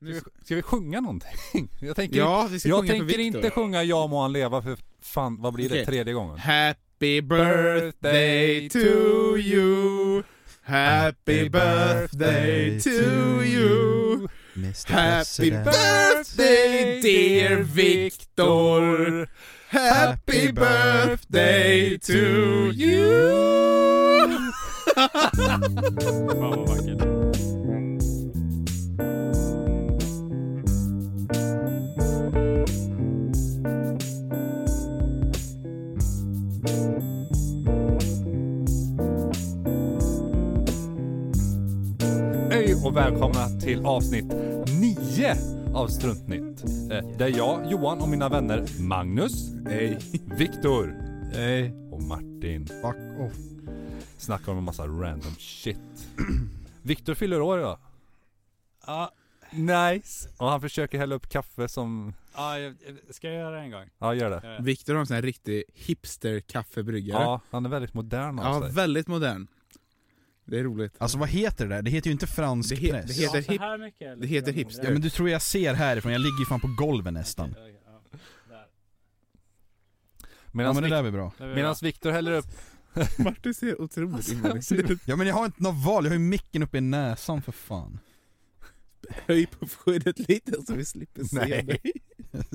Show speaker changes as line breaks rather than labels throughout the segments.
Nu ska, ska vi sjunga någonting? Jag tänker,
Ja, vi ska
jag
sjunga för
tänker
Viktor.
inte sjunga Ja må han leva för fan, vad blir det?
Okej.
Tredje gången?
Happy birthday to you Happy birthday to you Happy birthday dear Victor Happy birthday to you
Fan vad vackert.
Hej och välkomna till avsnitt 9 av Struntnytt. Eh, Där jag, Johan och mina vänner Magnus, hey. Viktor och Martin
Fuck off.
snackar om en massa random shit. Viktor fyller år idag. Ah,
Ja,
Nice! Och han försöker hälla upp kaffe som...
ja, jag- jag- ska jag göra det en gång?
Ja, gör det.
Ja, ja.
Victor har en sån här riktig hipster-kaffebryggare
Ja, han är väldigt modern av
Ja,
sig.
väldigt modern Det är roligt
Alltså vad heter det där? Det heter ju inte fransk
Det he-
press.
det heter
Ja, så
hip-
här mycket, eller?
det heter hipster.
Ja men du tror jag ser härifrån, jag ligger ju fan på golvet nästan.
Okej, ja. Där.
Ja
Medan
men det där blir bra.
Där är vi
Medan Viktor häller upp...
Martin ser otroligt
Alltså,
invändningsfri ut
Ja men jag har inte något val, jag har ju micken uppe i näsan för fan.
Höj på skyddet lite så vi slipper se
Nej.
dig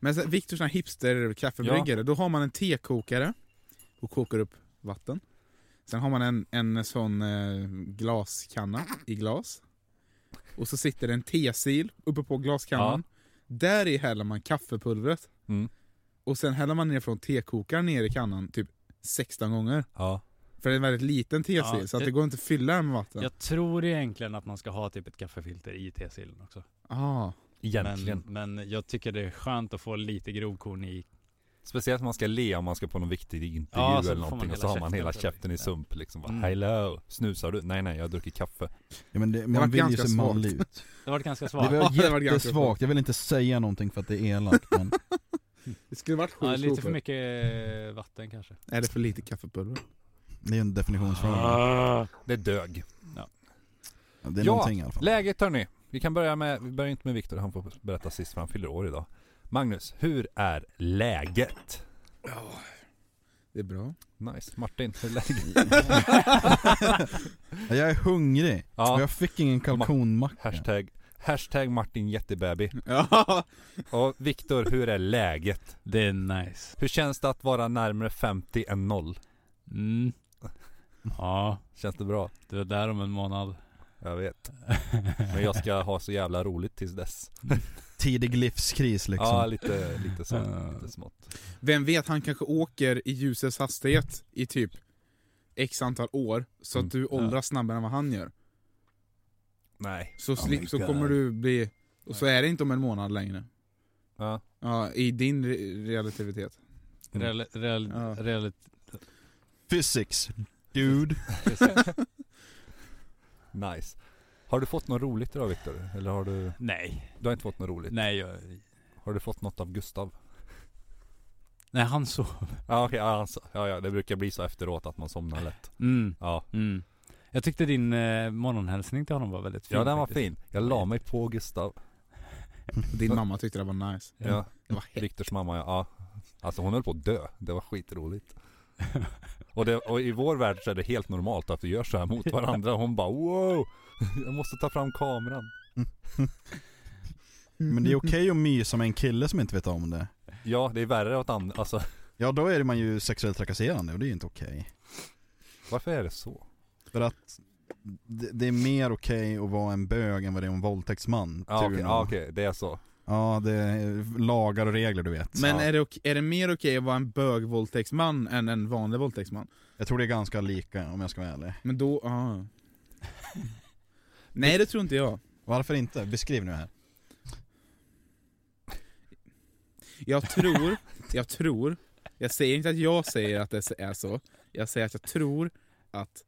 Men sen, Viktors sån här hipster-kaffebryggare, då har man en tekokare och kokar upp vatten Sen har man en, en sån eh, glaskanna i glas Och så sitter det en tesil uppe på glaskannan Där i häller man kaffepulvret
Mm.
Och sen häller man ner från tekokaren ner i kannan typ 16 gånger
Ja.
För det är en väldigt liten tesil
Ja,
så att
det-
det går inte att fylla den med
där.
vatten
Jag tror egentligen att man ska ha typ ett kaffefilter i tesillen också.
ah.
Egentligen.
Men, men jag tycker det är skönt att få lite grovkorn i.
Speciellt om man ska le om man ska på någon viktig intervju
Ja, så
eller
får man
någonting och så
hela
har man hela
käften.
käften i sump liksom. Bara,
Mm.
Hello! Snusar du? Nej nej, jag har druckit kaffe.
Ja men det,
Det var
man vill ju
ganska
se
svagt.
manlig ut.
Det var ganska
Det
svagt.
Ja,
var
det var ganska
jättesvagt, jag vill inte säga någonting för att det är elakt men
Det skulle varit sju
Ja, lite för
slokor.
mycket eh, vatten kanske.
Är det för lite kaffepulver?
det är ju en
Ah.
definitionsfråga.
Det dög.
Ja, Det är
Ja,
någonting i alla fall.
Läget hörni. Vi kan börja med, vi börjar inte med Viktor, han får berätta sist för han fyller år idag. Magnus, hur är läget?
Det är bra.
Nice. Martin, hur är läget?
Ja, Jag är hungrig, och
Ja,
jag fick ingen kalkonmacka.
hashtag, hashtag Martin jättebaby.
Ja.
Och Viktor, hur är läget?
Det är nice.
Hur känns det att vara närmare 50 än 0?
Mm. Ja,
Känns det bra?
du är där om en månad.
Jag vet. Men jag ska ha så jävla roligt tills dess.
Tidig livskris
Ja,
liksom.
lite, lite så.
Ja.
Lite smått.
Vem vet, han kanske åker i ljusets hastighet i typ x antal år, så
Mm.
att du åldras
Ja.
snabbare än vad han gör.
Nej.
Så, sli-
my
så
God.
kommer du bli... Och så är det inte om en månad längre.
Ja.
Ja, i din re- relativitet.
Mm.
Real, real,
Ja.
real,
Physics, dude.
Nice. Har du fått något roligt idag Viktor? Eller har du...
nej,
Du har inte fått något roligt?
nej, jag,
Har du fått något av Gustav?
nej han sov.
Ja okej, ja, alltså, ja, ja det brukar bli så efteråt att man somnar lätt.
Mm,
Ja.
mm. Jag tyckte din eh, morgonhälsning till honom var väldigt fin.
Ja den var
faktiskt.
fin. Jag la mig på Gustav.
Din mamma tyckte det var nice. Mm.
Ja.
Det var hett.
Viktors mamma, ja. ja. Alltså hon höll på att dö. Det var skitroligt. Och, det, och i vår värld så är det helt normalt att vi gör så här mot varandra. Hon bara wow! Jag måste ta fram kameran.
Men det är okej att mysa med en kille som inte vet om det.
Ja, det är värre åt andra. Alltså
Ja då är man ju sexuellt trakasserande och det är ju inte okej.
varför är det så?
För att det, det är mer okej att vara en bög än vad det är en våldtäktsman.
Ja
tur
okej,
nog.
ja, okej, det är så.
ja det är lagar och regler du vet.
Men
Ja.
är det, ok- är det mer okej att vara en bögvåldtäktsman än en vanlig våldtäktsman?
Jag tror det är ganska lika om jag ska vara ärlig.
Men då, ah. Nej det tror inte jag.
Varför inte? Beskriv nu här.
Jag tror, jag tror, jag säger inte att jag säger att det är så, jag säger att jag tror att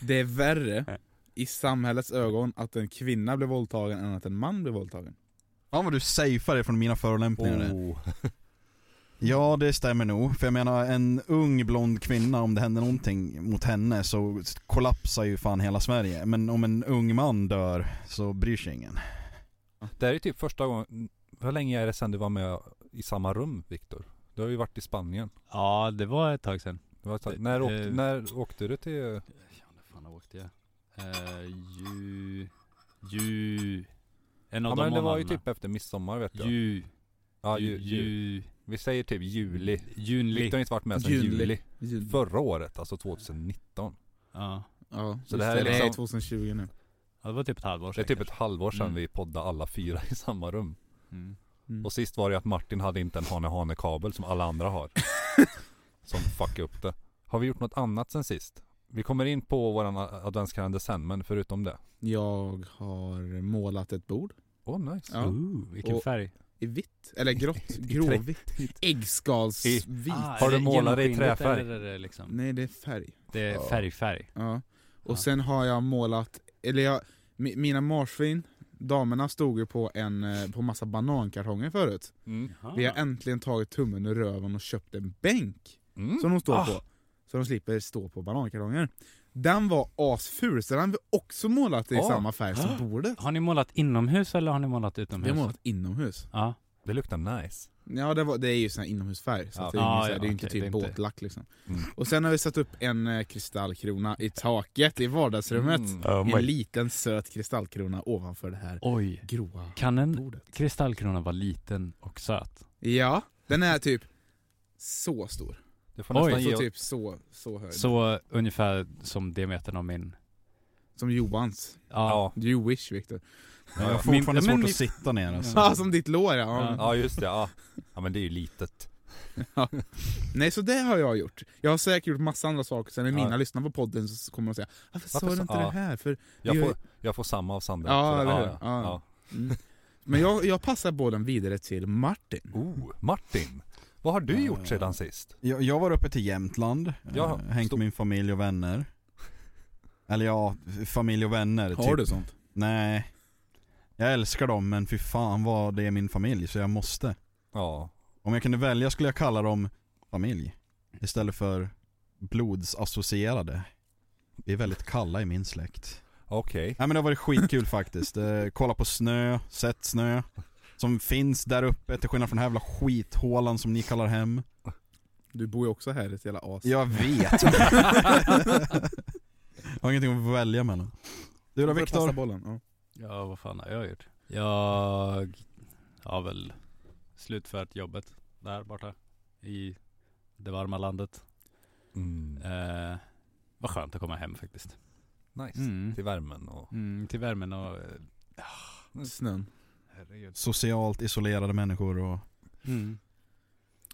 det är värre i samhällets ögon att en kvinna blir våldtagen än att en man blir våldtagen.
Fan vad du safear dig från mina förolämpningar där.
Oh.
Ja det stämmer nog, för jag menar en ung blond kvinna om det händer någonting mot henne så kollapsar ju fan hela Sverige. Men om en ung man dör så bryr sig ingen.
Det här är typ första gången, hur länge är det sedan du var med i samma rum Viktor? Du har ju varit i Spanien.
Ja, det var ett tag sedan.
Du har tagit- när, åkte,
Eh.
när åkte du till,
Ja, när fan åkte jag? Eh, ju... Ju... En av
ja
de
men det var ju
månaderna.
typ efter midsommar vet jag.
Ju...
ja, ju,
ju,
ju.
ju,
Vi säger typ juli.
Junli.
Viktor har inte varit med sedan
Juli.
juli.
Jul.
Förra året, alltså 2019.
Ja.
Ja,
Så det här är
det är
liksom-
2020 nu.
ja, det var typ ett halvår
Det är
sedan.
typ ett halvår sedan
Mm.
vi poddade alla fyra i samma rum.
kanske. Mm.
Mm.
Och sist var det ju att Martin hade inte en hane-hane-kabel som alla andra har. som fuckade upp det. Har vi gjort något annat sen sist? Vi kommer in på våran a- adventskalender sen, men förutom det.
Jag har målat ett bord
Åh oh, nice.
Ja.
Ooh, vilken
Och-
färg.
i vitt, eller grått, gråvitt. Äggskalsvit.
Har
är
du
Ah, det
målat det i
genomskinligt
träfärg?
eller är det liksom?
Nej, det är färg.
Det är färgfärg.
Ja. Och
Ja.
sen har jag målat, eller jag, mi- mina marsvin, damerna stod ju på en eh, på massa banankartonger förut.
Mm.
Ah.
Vi har äntligen tagit tummen ur röven och köpt en bänk
Mm.
som de står
Ah.
på. Så de slipper stå på banankartonger. Den var asful, så den har vi också målat i
Ah.
samma färg som bordet.
Har ni målat inomhus eller har ni målat
Vi
utomhus?
har målat inomhus.
Ja.
Det luktar nice.
Ja det, var, det är ju sån här inomhusfärg, så
Ja,
att det är ju
ja, Ah,
ingen så här-
ja,
det är ju inte
okej,
typ
det är inte-
båtlack liksom.
Mm.
Och sen har vi satt upp en eh, kristallkrona i taket i vardagsrummet.
Mm.
En liten söt kristallkrona ovanför det här
Oj.
gråa
Kan en
bordet.
kristallkrona vara liten och söt?
Ja, den är typ så stor.
Du får
Oj,
nästan ge
Så
oss...
typ så, så hög.
Så ungefär som diametern av min...
Som Johans.
Ja.
You wish Victor.
Jag har
Ja,
fortfarande
Min-
svårt
men-
att sitta ner alltså.
Ja, som ditt lår ja.
ja just det, ja. ja men det är ju litet.
Nej så det har jag gjort. Jag har säkert gjort massa andra saker, sen när
Ja.
mina lyssnar på podden så kommer de säga Varför sa
Varför
du
sa-
inte
ja.
det här? För...
Jag
Vi har
får, jag får samma av Sandra.
Ja,
så det-
eller hur? Ja. Mm. Men jag, jag passar bollen vidare till Martin.
Oh, Martin. Vad har du
Ja,
gjort
ja.
sedan sist?
Jag, jag var uppe till Jämtland,
Ja,
ja, hängt
stor-
med min familj och vänner. Eller ja, familj och vänner. typ.
Har du sånt?
Nej. Jag älskar dem men fy fan vad det är min familj så jag måste.
Ja.
Om jag kunde välja skulle jag kalla dem familj. Istället för blodsassocierade. Vi är väldigt kalla i min släkt.
Okej.
Nej men det har varit skitkul faktiskt. Eh, Kolla på snö, sett snö. Som finns där uppe till skillnad från den här jävla skithålan som ni kallar hem.
Du bor ju också här ett jävla as.
Jag vet. jag har ingenting att välja mellan. Du då
Jag får passa
Viktor?
bollen. Ja.
Ja, vad fan har jag gjort? Jag har väl slutfört jobbet där borta i det varma landet.
Mm.
Eh, vad skönt att komma hem faktiskt.
Nice.
Mm.
Till värmen och...
Mm, till värmen och... eh,
Snön.
Herregud.
Socialt isolerade människor och...
Mm.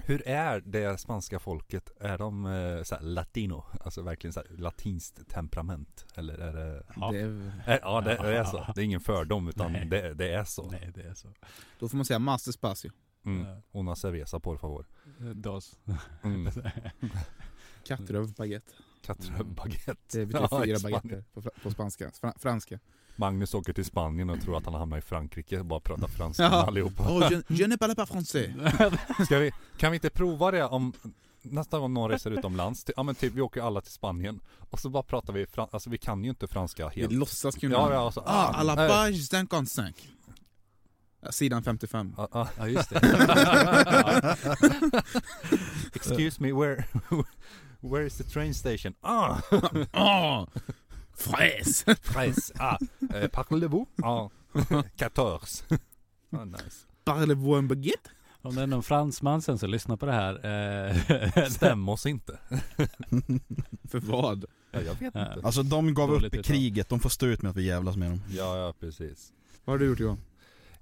Hur är det spanska folket? Är de eh, såhär latino? Alltså verkligen såhär latinskt temperament? Eller är det...
Ja.
Det är,
Är, ja det, det är så. Det är ingen fördom utan
Nej.
det, det är så.
Nej, det är så.
då får man säga master spacio.
Mm. Una cerveza por favor.
Eh, Dos.
Mm.
Kattröv baguette.
Kattröv
Mm.
baguette.
Det betyder
Ja, i
fyra
Spanien.
baguetter på, fr- på spanska. Fra, franska.
Magnus åker till Spanien och tror att han hamnar i Frankrike och bara pratar franska med
Ja.
allihopa.
Oh, je, je ne parle pas français.
Ska vi, kan vi inte prova det om nästa gång någon reser utomlands? Ty- Ja men typ vi åker alla till Spanien och så bara pratar vi fran- alltså vi kan ju inte franska
Vi
helt.
låtsas kunna.
Ja, ja, alltså,
Ah, à la
nej.
page 55. Ja, Sidan 55.
Ja, ja.
Ja, just det.
Excuse me, where, where is the train station? Ah!
Ah! Fräs!
Press, ah! Eh, Parlez-vous? Ah, 14. Ah, nice.
Parlez-vous en baguette?
Om det är någon fransman sen så lyssna på det här. Eh,
Stäm oss inte.
För vad?
Ja, jag vet
Ja.
inte.
Alltså de gav
Dåligt
upp i
uttal.
kriget, de får stå ut med att vi jävlas med dem.
Ja, ja precis.
Vad har du gjort Johan?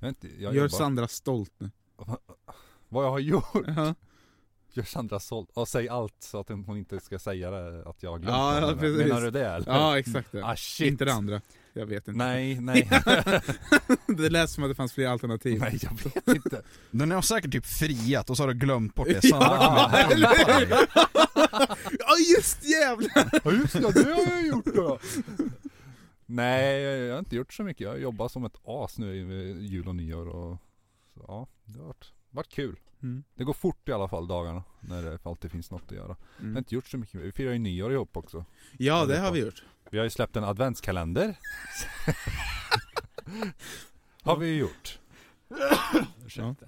Jag, vet inte, jag
Gör
jobbar.
Sandra stolt nu.
Vad jag har gjort?
Ja,
Gör Sandra sålt? Och säg allt så att hon inte ska säga det, att jag har glömt.
Ja, ja,
henne.
precis.
Menar du det eller?
ja exakt det.
Ah shit.
Inte det andra. Jag vet inte.
Nej, nej.
Det lät som att det fanns fler alternativ.
nej, jag vet inte.
Den har säkert typ friat och så har du glömt bort det. Sandra kommer
Ja,
hem.
Ja just jävlar!
Ja just det, det har jag gjort då. Nej, jag har inte gjort så mycket. Jag har jobbat som ett as nu i jul och nyår och så, ja, det har varit, varit kul.
Mm.
Det går fort i alla fall dagarna när det alltid finns något att göra.
Mm.
Jag har inte gjort så mycket. Vi firar ju nyår ihop också.
Ja det har vi gjort.
Vi har ju släppt en adventskalender. har vi gjort.
Ursäkta.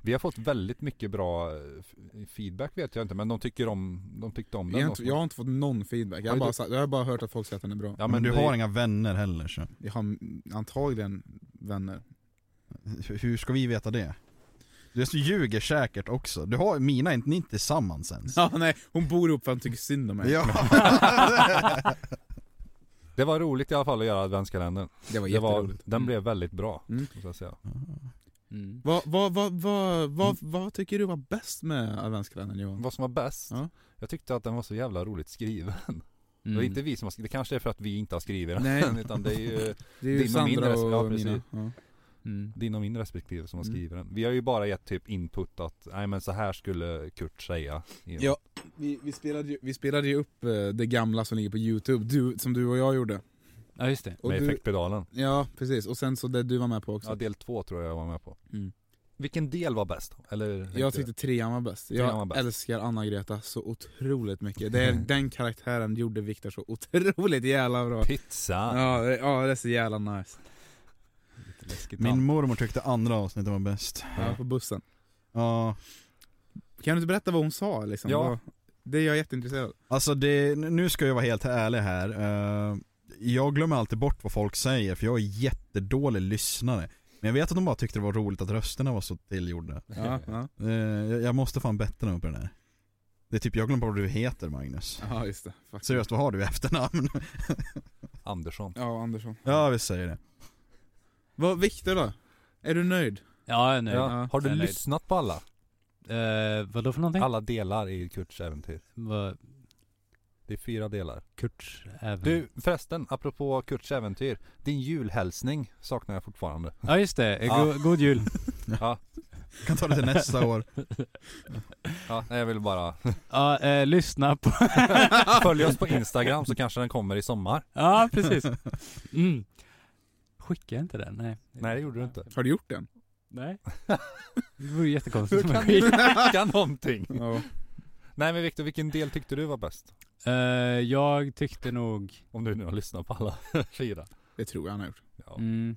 Vi har fått väldigt mycket bra eh, f- feedback vet jag inte, men de tycker om, de tyckte om
Jag
den.
har,
då,
inte, jag har inte fått någon feedback, jag har,
Oj,
bara,
du-
sagt- jag har bara hört att folk säger att den är bra.
ja,
men, du
det-
har inga vänner heller så.
Jag har mm, antagligen vänner.
Hur- Hur ska vi veta det? Du ljuger säkert också. Du har, mina är inte, ni är inte tillsammans ens.
Ja, nej, hon bor ihop för att hon tycker synd om mig.
Ja.
det var roligt i alla fall att göra adventskalendern.
Det var
Det var,
jätteroligt.
den
Mm.
blev väldigt bra,
Mm.
måste jag säga.
Mm.
Vad, vad, vad, vad, vad, vad tycker du var bäst med adventskalendern Johan?
Vad som var bäst?
Ja.
Jag tyckte att den var så jävla roligt skriven. Det var
Mm.
inte vi som har skrivit, det kanske är för att vi inte har skrivit den.
Nej.
Utan det är ju
Det är ju
Din och min
Sandra
röst,
och,
ja,
mina.
precis.
Ja.
Mm.
din och min respektive som har
Mm.
skrivit den. Vi har ju bara gett typ input att, nej men så här skulle Kurt säga. i den.
Ja. Vi, vi, spelade ju, vi spelade ju upp eh, det gamla som ligger på youtube, du, som du och jag gjorde.
Ja just det.
Och
med
du,
effektpedalen.
ja precis, och sen så det du var med på också.
Ja, del två tror jag jag var med på.
Mm.
Vilken del var bäst? Eller?
Jag tyckte trean var bäst.
Trean
Jag
var bäst.
älskar Anna-Greta så otroligt mycket. Det är, den karaktären gjorde Viktor så otroligt jävla bra.
Pizza!
Ja, det, ja, det är så jävla nice.
Lite läskigt namn.
Min mormor tyckte andra avsnittet var bäst.
Ja, på bussen.
Ja,
Kan du inte berätta vad hon sa liksom?
Ja.
Vad- Det är jag jätteintresserad av.
alltså det, nu ska jag vara helt ärlig här. Eh, Jag glömmer alltid bort vad folk säger för jag är jättedålig lyssnare. Men jag vet att de bara tyckte det var roligt att rösterna var så tillgjorda.
Ja, ja.
Eh, Jag jag måste fan bättra mig på det där. Det är typ, jag glömmer bort vad du heter Magnus.
ja just det. Fuck.
Seriöst, vad har du i efternamn?
Andersson.
Ja, Andersson.
Ja, vi säger det.
Vad, Viktor då? Är du nöjd?
Ja, jag är nöjd.
Ja. Har du
Eller-
lyssnat på alla?
Eh, vadå för någonting?
Alla delar i Kurts äventyr.
Vad-
Det är fyra delar.
Kurts även...
Du förresten, apropå Kurts äventyr. Din julhälsning saknar jag fortfarande.
Ja just det, Eh,
Ja.
go- god jul.
Kan ta det till nästa år.
Ja, nej, jag vill bara
Ja, eh, lyssna på...
följ oss på Instagram så kanske den kommer i sommar.
Ja, precis. Mm. Skickade jag inte den? Nej.
Nej, det gjorde du inte.
Har du gjort den?
Nej. Det vore
Hur
jättekonstigt.
kan du märka någonting?
Ja.
Nej men Viktor, vilken del tyckte du var bäst?
Eh, jag tyckte nog...
Om du nu har lyssnat på alla fyra.
Det tror jag han har gjort.
Ja,
Mm,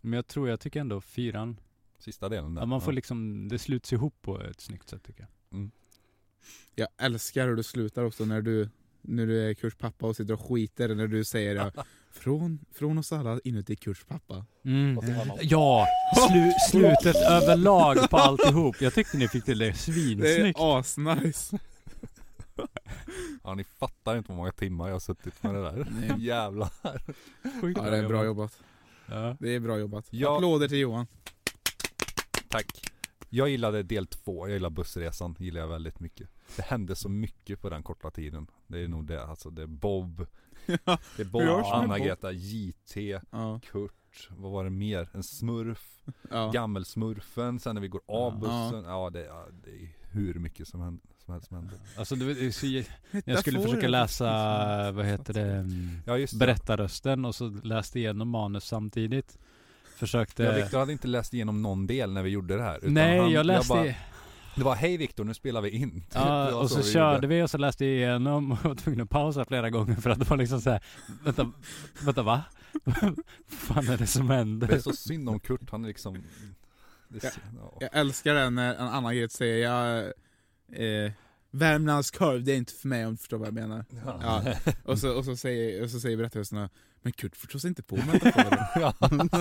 men jag tror, jag tycker ändå fyran.
sista delen där.
Ja, man får liksom, det sluts ihop på ett snyggt sätt tycker jag.
Jag älskar hur du slutar också när du, när du är Kurs pappa och sitter och skiter när du säger ja, från, från oss alla inuti Kurs pappa.
Mm.
Och så har man-
Ja, slu, slutet överlag på alltihop. Jag tyckte ni fick till det
Det är
svinsnyggt.
asnice.
Ja, ni fattar inte hur många timmar jag har suttit med det där. Jävlar.
Sjukt
Ja, det är bra jobbat.
Ja.
Det är bra jobbat.
Ja.
Applåder till Johan.
Tack. Jag gillade del två, jag gillar bussresan, gillar jag väldigt mycket. Det hände så mycket på den korta tiden. Det är nog det, alltså det är Bob, det är Bob,
görs med
Anna-Greta, JT,
Ja.
Kurt, vad var det mer? En smurf,
Ja.
gammelsmurfen, sen när vi går av
Ja.
bussen. Ja, det, ja, det är hur mycket som händer. Som helst som händer.
Alltså, det, det, är så- jag skulle försöka läsa, vad heter det, mm,
Ja just det.
berättarrösten och så läste igenom manus samtidigt. Försökte...
Ja, Viktor hade inte läst igenom någon del när vi gjorde det här. utan
eh, Nej,
han-
jag läste...
bara, det var hej Viktor, nu spelar vi in. Typ, det
Ja,
var
och så,
vi
körde
gjorde.
vi och så läste jag igenom och var tvungen att pausa flera gånger för att det var liksom så här, vänta, vänta va? Vad fan är det som händer?
Det är så synd om Kurt, han är liksom... Det, är- ja.
Jag älskar den när en annan grej säger jag, eh, Värmlandskorv, det är inte för mig om du förstår vad jag menar. Ja. Och, så, och, så säger, och så säger berättarrösterna, men Kurt förstår sig inte på mig.
Ja.
Sånt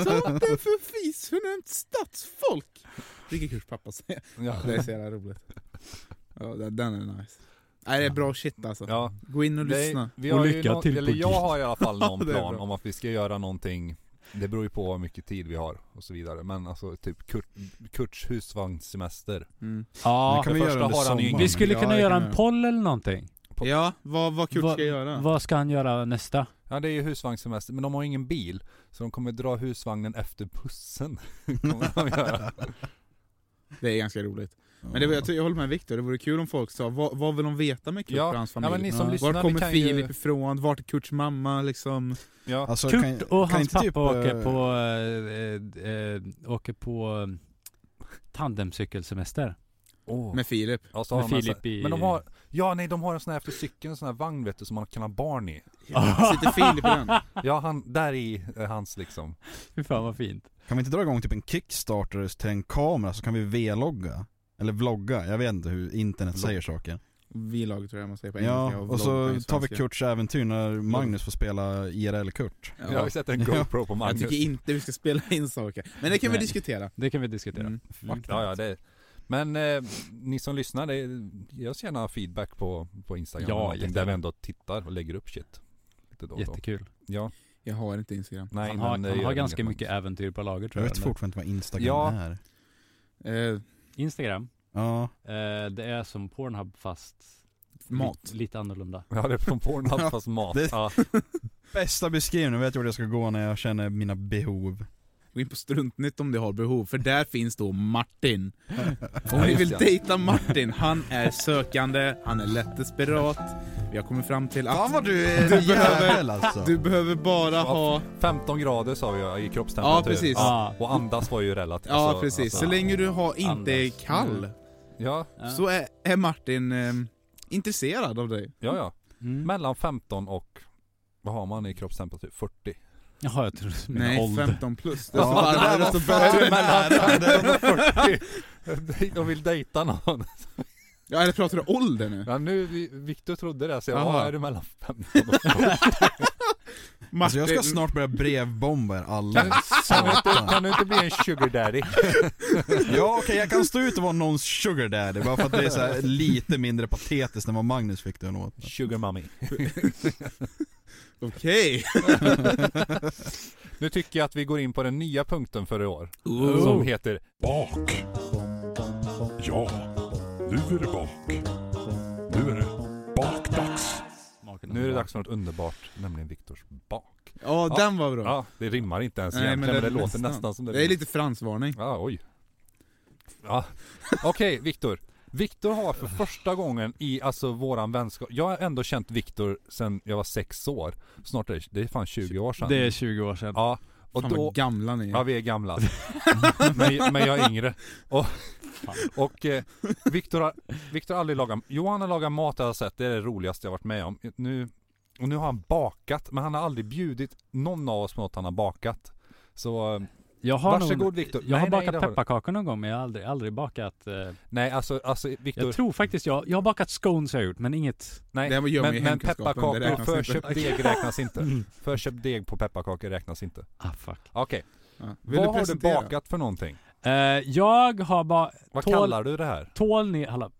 är för fisförnämt stadsfolk! Vilket Kurts pappa säger.
Ja.
Det är så jävla roligt. Ja, den, den är nice. Nej det är bra shit alltså.
Ja,
Gå in och
det,
lyssna.
vi
Och
har ju
lycka
nå-
till på
eller jag
Git.
har i alla fall någon
Ja, det är
plan
bra.
om att vi ska göra någonting Det beror ju på hur mycket tid vi har och så vidare Men alltså typ Kurt, Kurts husvagnssemester
Mm.
Det
Ja,
kan vi
det
göra
första
under
har han ju-
sommaren.
vi skulle
Ja,
kunna
det
göra
kan
en
vi.
poll eller någonting.
Ja, vad, vad Kurt
Vad-
ska göra?
Vad ska han göra nästa?
Ja det är ju husvagnssemester, men de har ju ingen bil Så de kommer dra husvagnen efter bussen Kommer de göra.
Det är ganska roligt. Men det, var- jag, tror- jag håller med Viktor, det vore kul om folk sa vad, vad vill de veta med Kurt
Ja,
och hans
Ja
familj?
men ni som
Ja.
lyssnar,
Var
ni
kommer
kan
Filip
ju,
ifrån? Vart är Kurts mamma liksom?
ja.
Alltså,
Kurt
kan-
och
kan
hans
inte
pappa
typ,
åker
eh,
på, eh, eh, eh, åker på eh, tandemcykelsemester.
Åh.
med Filip.
Ja, så
Med
har de en
Filip
sån-
i-
Men de har, ja nej de har en sån här efter cykeln, en sån här vagn vet du som man kan ha barn i.
Sitter Filip i den?
Ja han, där i är hans liksom.
Fy fan vad fint.
Kan vi inte dra igång typ en kickstarter till en kamera så kan vi vlogga? Eller vlogga, jag vet inte hur internet säger saker.
V-lag tror jag man säger på engelska.
Ja, och
vlogg
så
på
tar vi
svenska.
Kurts äventyr när Magnus får spela IRL-Kurt.
Ja.
Jag har ju sett en GoPro på
Jag
Magnus.
tycker inte vi ska spela in saker. Men det kan vi
Nej.
diskutera.
Det kan vi diskutera.
Mm.
Fuck
Ja, ja, det. Men eh, ni som lyssnar, det, ge oss gärna feedback på, på Instagram.
Ja,
eller någonting, där
jättegärna.
vi ändå tittar och lägger upp shit. Lite då och då.
Jättekul.
Ja,
Jag har inte Instagram.
nej,
han har,
men det
han
gör
har
inget,
ganska
man-
mycket äventyr på lager
Jag
tror jag.
vet fortfarande inte vad Instagram
Ja.
är.
Mm.
Eh,
Instagram,
Ja,
eh, det är som Pornhub fast
mat.
Lite, lite annorlunda.
Ja, det är från Pornhub fast mat.
Det-
Ja,
bästa beskrivningen, vet jag vart jag ska gå när jag känner mina behov.
Gå in på Struntnytt om du har behov, för där finns då Martin. Om
Ja,
ni
just
vill
ja.
dejta Martin, han är sökande, han är lätt desperat. Vi har kommit fram till
Fan
att
vad du är
Du
en jävel alltså!
du behöver bara ha...
15 grader sa vi ja, i kroppstemperatur.
Ja, precis.
Ah,
Och andas var ju relativt.
Ja
alltså,
precis,
alltså, Mm.
så länge du har inte är
Andas.
kall
ja,
ja.
så är, är Martin ehm, intresserad av dig.
ja, ja.
Mm.
Mellan 15 och, vad har man i kroppstemperatur? 40.
Jaha, jag trodde du menade
Nej,
ålder.
15 plus. Det är så
Ja, det där
varmare
var
desto
fan
bättre.
nära!
40. De vill dejta någon.
Ja, eller pratar du ålder nu?
Ja, nu, vi- Victor trodde det, så jag,
Jaha.
ja, är du mellan 15 och 40?
Alltså jag ska
Martin-
snart börja brevbomba er alla.
Kan du, inte,
Satan.
kan du inte bli en sugar daddy?
Ja okej, jag kan stå ut och vara någons sugar daddy bara för att det är så här lite mindre patetiskt än vad Magnus fick det att låta.
Sugar mommy.
Okej.
Nu tycker jag att vi går in på den nya punkten för i år.
Ooh.
Som heter
Bak. Ja, nu är det bak. Nu är det bakdags.
Smaken av
Nu är det
mat.
dags för något underbart, nämligen Viktors bak.
Ja,
Ja.
den var bra.
Ja, det rimmar inte ens
Nej,
egentligen,
men
men det,
det är
låter
nästan.
nästan som det.
Det är lite fransvarning.
Ja, oj. Ja. Okej, Viktor. Viktor har för första gången i alltså våran vänskap, jag har ändå känt Viktor sedan jag var sex år. Snart är det, det är fan 20 år sedan.
Det är 20 år sedan.
Ja, och
Fan
då,
vad gamla ni är.
Ja vi är gamla. men, men jag är yngre. Och, och eh, Viktor har, Viktor har aldrig lagat, Johan har lagat mat har jag sett, det är det roligaste jag varit med om. Nu, och nu har han bakat, men han har aldrig bjudit någon av oss på något han har bakat. Så eh,
Jag har
Varsågod,
nog,
Viktor.
Jag
Nej,
har
nej,
bakat
det har du.
pepparkakor någon gång men jag har aldrig, aldrig bakat eh,
nej alltså, alltså Viktor,
Jag tror faktiskt jag, jag har bakat scones har jag gjort men inget
nej.
Det här gör man
Men,
ju i
men
hemkunskapen, det
pepparkakor,
räknas inte. Mm.
förköpt deg räknas inte. Förköpt deg på pepparkakor räknas inte.
Ah fuck
Okej,
Ja. Vill
vad har du
presentera?
bakat för någonting?
eh, Jag har bara,
Vad
Tål-
kallar du det här?
tål ni, hallå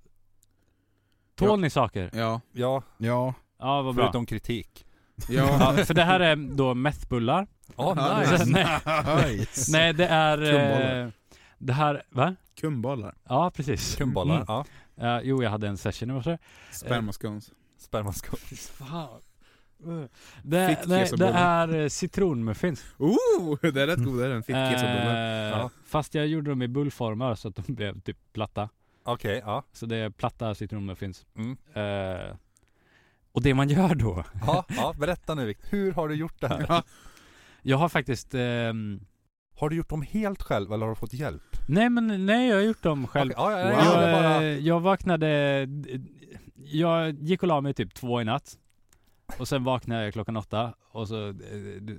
Tål ni saker?
Ja,
Ja,
Ja,
Ja vad bra
förutom kritik.
ja.
ja, För det här är då methbullar
Ja,
Ja,
nice.
Så- nej,
nice!
nej det är eh,
Krumbollar.
Det här, va?
Kumbollar.
Ja precis
Kumbollar, ja.
Mm. Eh, Jo jag hade en session i morse
Spermascones.
Eh.
Spermaskott.
Fan det,
Fick
det, det
kesobullar.
är eh, citronmuffins
Oh, det är rätt godare än fittkesobullar.
Eh,
Ja.
Fast jag gjorde dem i bullformar så att de blev typ platta.
Okej, ja.
Så det är platta citronmuffins.
Mm.
Eh, och det man gör då.
Ja, ja, berätta nu Victor. Hur har du gjort det här?
Ja.
Jag har faktiskt ehm,
Har du gjort dem helt själv eller har du fått hjälp?
Nej men nej jag har gjort dem själv.
Okej, ja, ja,
Wow.
ja, jag,
Jag,
ville bara...
eh, jag vaknade, jag gick och la mig typ två i natt. Och sen vaknade jag klockan åtta och så eh, d-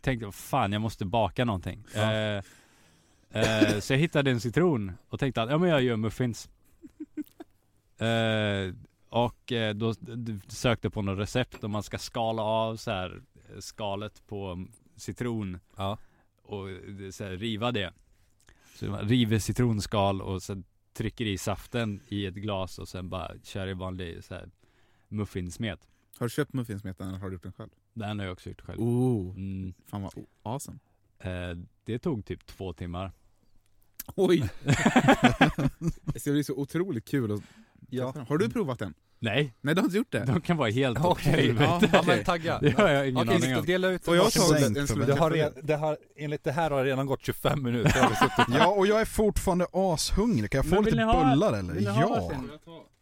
tänkte jag fan jag måste baka någonting.
Ja.
Eh, eh, så jag hittade en citron och tänkte att ja men jag gör muffins. Eh, och eh, då d- d- sökte jag på något recept om man ska skala av så här eh, skalet på citron
Ja.
och eh, så här, riva det. Så man river citronskal och sen trycker i saften i ett glas och sen bara kör i vanlig så här, muffinsmet.
Har du köpt muffinsmeten eller har du gjort den själv?
Den har jag också gjort själv.
Oh,
Mm,
fan vad awesome.
eh, det tog typ två timmar.
Oj! det ska bli så otroligt kul att
Ja.
testa den. Har du provat den?
Nej,
Nej, du har inte gjort det?
de kan vara helt åt
Okej,
helvete.
ja,
ja, men tagga.
Det har jag ingen
Okej,
aning om.
dela ut
Och jag
varsin
såg
bulle.
en slurk
det har,
kaffe.
re- det har, enligt det här har det redan gått 25 minuter. Jag har suttit-
Ja, och jag är fortfarande ashungrig. Kan jag få
Men vill
lite
ni ha-
bullar eller?
vill ni ha
Ja.
varsin?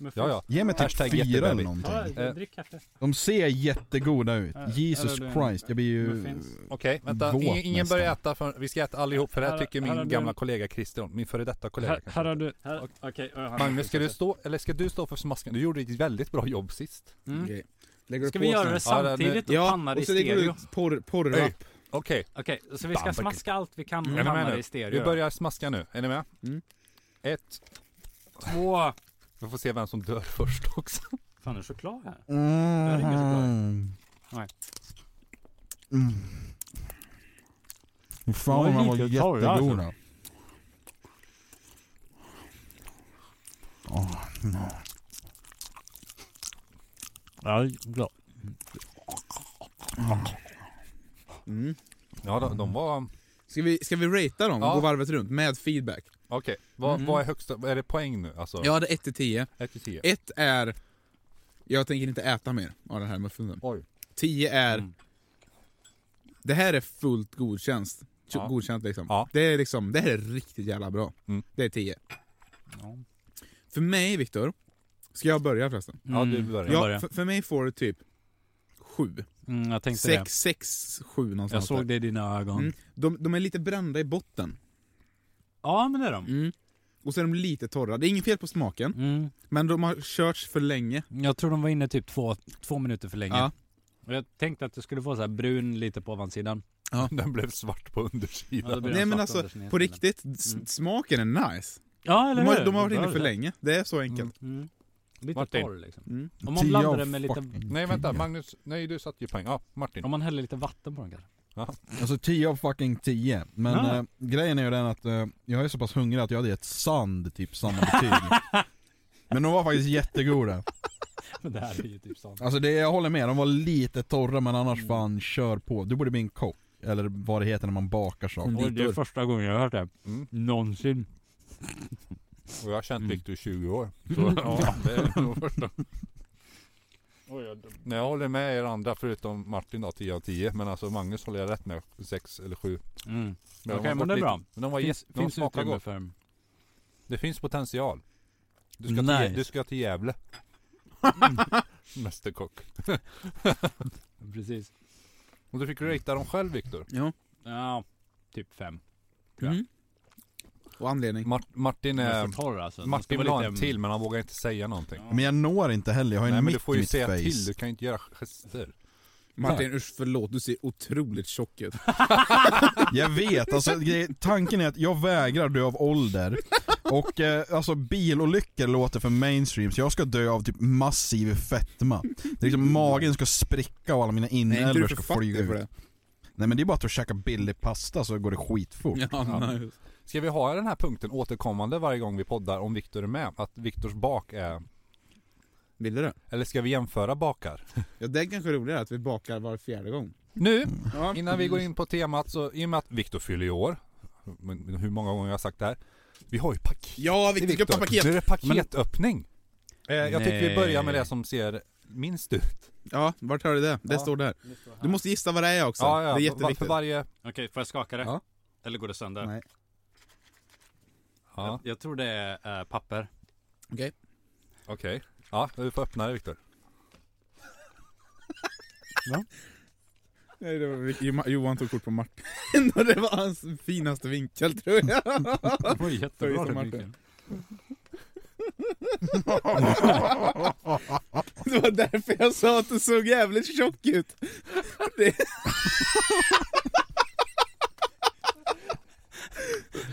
Men
ja, ja.
Ge mig
Hashtag
typ fyra eller
jättebaby.
någonting.
Eh.
drick kaffe.
De ser jättegoda ut.
Ja,
Jesus
eller-
Christ, jag blir ju...
Muffins.
Okej, vänta.
Våt
Ingen, ingen
nästan.
börjar äta förrän, vi ska äta allihop för det här
Här-
tycker
här har
min
du-
gamla kollega Christer om. Min före detta kollega.
Här,
kanske.
här har du, här, okej. ö, här.
Magnus, ska du stå, eller ska du stå för smasken? Du gjorde ett väldigt bra jobb sist.
Mm.
Okej. Lägger du
Ska
på
vi
sån
göra
här?
det
Ja, det-
samtidigt och
Ja,
panna det i
och så lägger du
stereo?
ut porr, porrrap.
Okej,
Okej, så vi ska
Bam,
smaska allt vi kan
Mm.
och
Är ni med
panna
nu?
det i stereo.
vi börjar smaska nu. Är ni med?
Mm.
Ett.
Två...
Vi får se vem som dör först också.
Fan, är det choklad här? är inget så bra.
Mm.
Nej.
Mm. Fy Fan vad
Oj,
de var
vilket torr, alltså.
jättegoda. Åh, no.
Ja, bra.
Mm.
Ja, de, de var...
Ska, vi, ska vi ratea dem?
Ja.
Gå varvet runt med feedback?
Okej, vad,
Mm.
vad är högsta... Är det poäng nu? Alltså,
Jag hade 1 till 10.
1 till 10?
1 är... Jag tänker inte äta mer av den här muffinsen.
Oj.
10 är...
Mm.
Det här är fullt godkänt.
Ja.
Godkänt liksom.
Ja.
Det, är liksom. det här är riktigt jävla bra.
Mm.
Det är 10.
Ja.
För mig, Viktor. Ska jag börja förresten?
Ja, du börjar.
Mm. Jag,
Ja,
Ja,
börjar.
för, för mig får du typ 7.
Mm, jag tänkte det.
6, 6, 7 någonstans.
Jag såg
där.
det i dina ögon.
Mm. De, de är lite brända i botten. Mm.
Ja, men det är de.
Och så är de lite torra. Det är inget fel på smaken,
Mm.
men de har körts för länge.
Jag tror de var inne typ två, två minuter för länge.
Ja.
Och jag tänkte att det skulle få så här brun lite på ovansidan.
Den blev svart på
Ja, då
undersidan.
blir
Nej,
den
men
svart
alltså,
undersidan
På
istället.
riktigt, s-
Mm.
smaken är nice.
Ja, eller
De har,
hur?
de har varit
Det
inne
var
för
det.
länge. Det är så enkelt.
Mm. Lite
Martin.
torr liksom.
Mm.
Om man
Tio
blandar
av
den med lite-
fucking
Nej, vänta.
tio.
Magnus. Nej, du satte ju poäng. Ja, Martin.
Om man häller lite vatten på den kanske.
Alltså 10 av fucking 10. Men
Ah.
eh, grejen är ju den att eh, jag är så pass hungrig att jag hade gett sand typ samma betyg. Men de var faktiskt jättegoda.
Men det här är ju typ sånt.
Alltså det, jag håller med, de var lite torra men annars
Mm.
fan kör på. Du borde bli en kock. Eller vad det heter när man bakar saker.
Mm.
Och det är första gången jag har hört det.
Mm.
Någonsin.
Och jag har känt
Mm.
Victor i 20 år. Så, ja, det är nog första. Nej, jag håller med er andra förutom Martin då, 10 av 10. Men alltså Magnus håller jag rätt med, 6 eller 7.
Mm.
Men de
Okej,
har
men
varit
det är
lite-
bra.
Men de var
Finns,
finns, de
finns
smakar
utrymme
gott.
för...
Det finns potential. Du ska,
Nice.
till, du ska till Gävle. Mästerkock.
Precis.
Och du fick ratea dem själv Viktor.
Ja.
Ja, typ fem.
Mm. Och anledning.
Mart- Martin,
Den är
är,
för torr alltså. Den ska
Martin
vara
vill ha en
lite-
till men han vågar inte säga någonting.
Men jag når inte heller, jag har ju
Nej
en
men du
mick
får
i
ju
mitt
säga
face.
till, du kan ju inte göra gester.
Martin, usch förlåt, du ser otroligt tjock ut.
Jag vet, alltså grej- tanken är att jag vägrar dö av ålder. Och eh, alltså bilolyckor låter för mainstream, så jag ska dö av typ massiv fetma. Det är liksom magen ska spricka och alla mina
Nej, inte du
inälvor
är för
ska flyga
fattig
ut.
för det.
Nej men det är bara att du käkar billig pasta så går det skitfort.
Ja, nice.
Ska vi ha den här punkten återkommande varje gång vi poddar om Viktor är med? Att Viktors bak är...
Vill du det?
Eller ska vi jämföra bakar?
Ja, det är kanske roligare att vi bakar var fjärde gång.
Nu,
Ja.
innan vi går in på temat så, i och med att Viktor fyller i år. Men hur många gånger jag har sagt det här. Vi har ju paket.
Ja, vi ska öppna
Nu
paket!
är det paketöppning. Eh, jag tycker vi
Nej.
börjar med det som ser minst ut.
Ja, vart har du det? Det
Ja.
står där. Du måste gissa vad det är också.
Ja, ja.
Det är
va- För
jätteviktigt.
varje...
Okej, får jag skaka det?
Ja.
Eller går det sönder?
Nej.
Ja,
Jag, jag tror det är eh, papper.
Okej.
okej. Ja, du får öppna det Viktor.
Nej, det var, Jo- Johan tog kort på Martin och det var hans finaste vinkel tror jag.
Det var
Oj,
jättebra
som
det
Martin.
Mikael.
Det var därför jag sa att du såg jävligt tjock ut.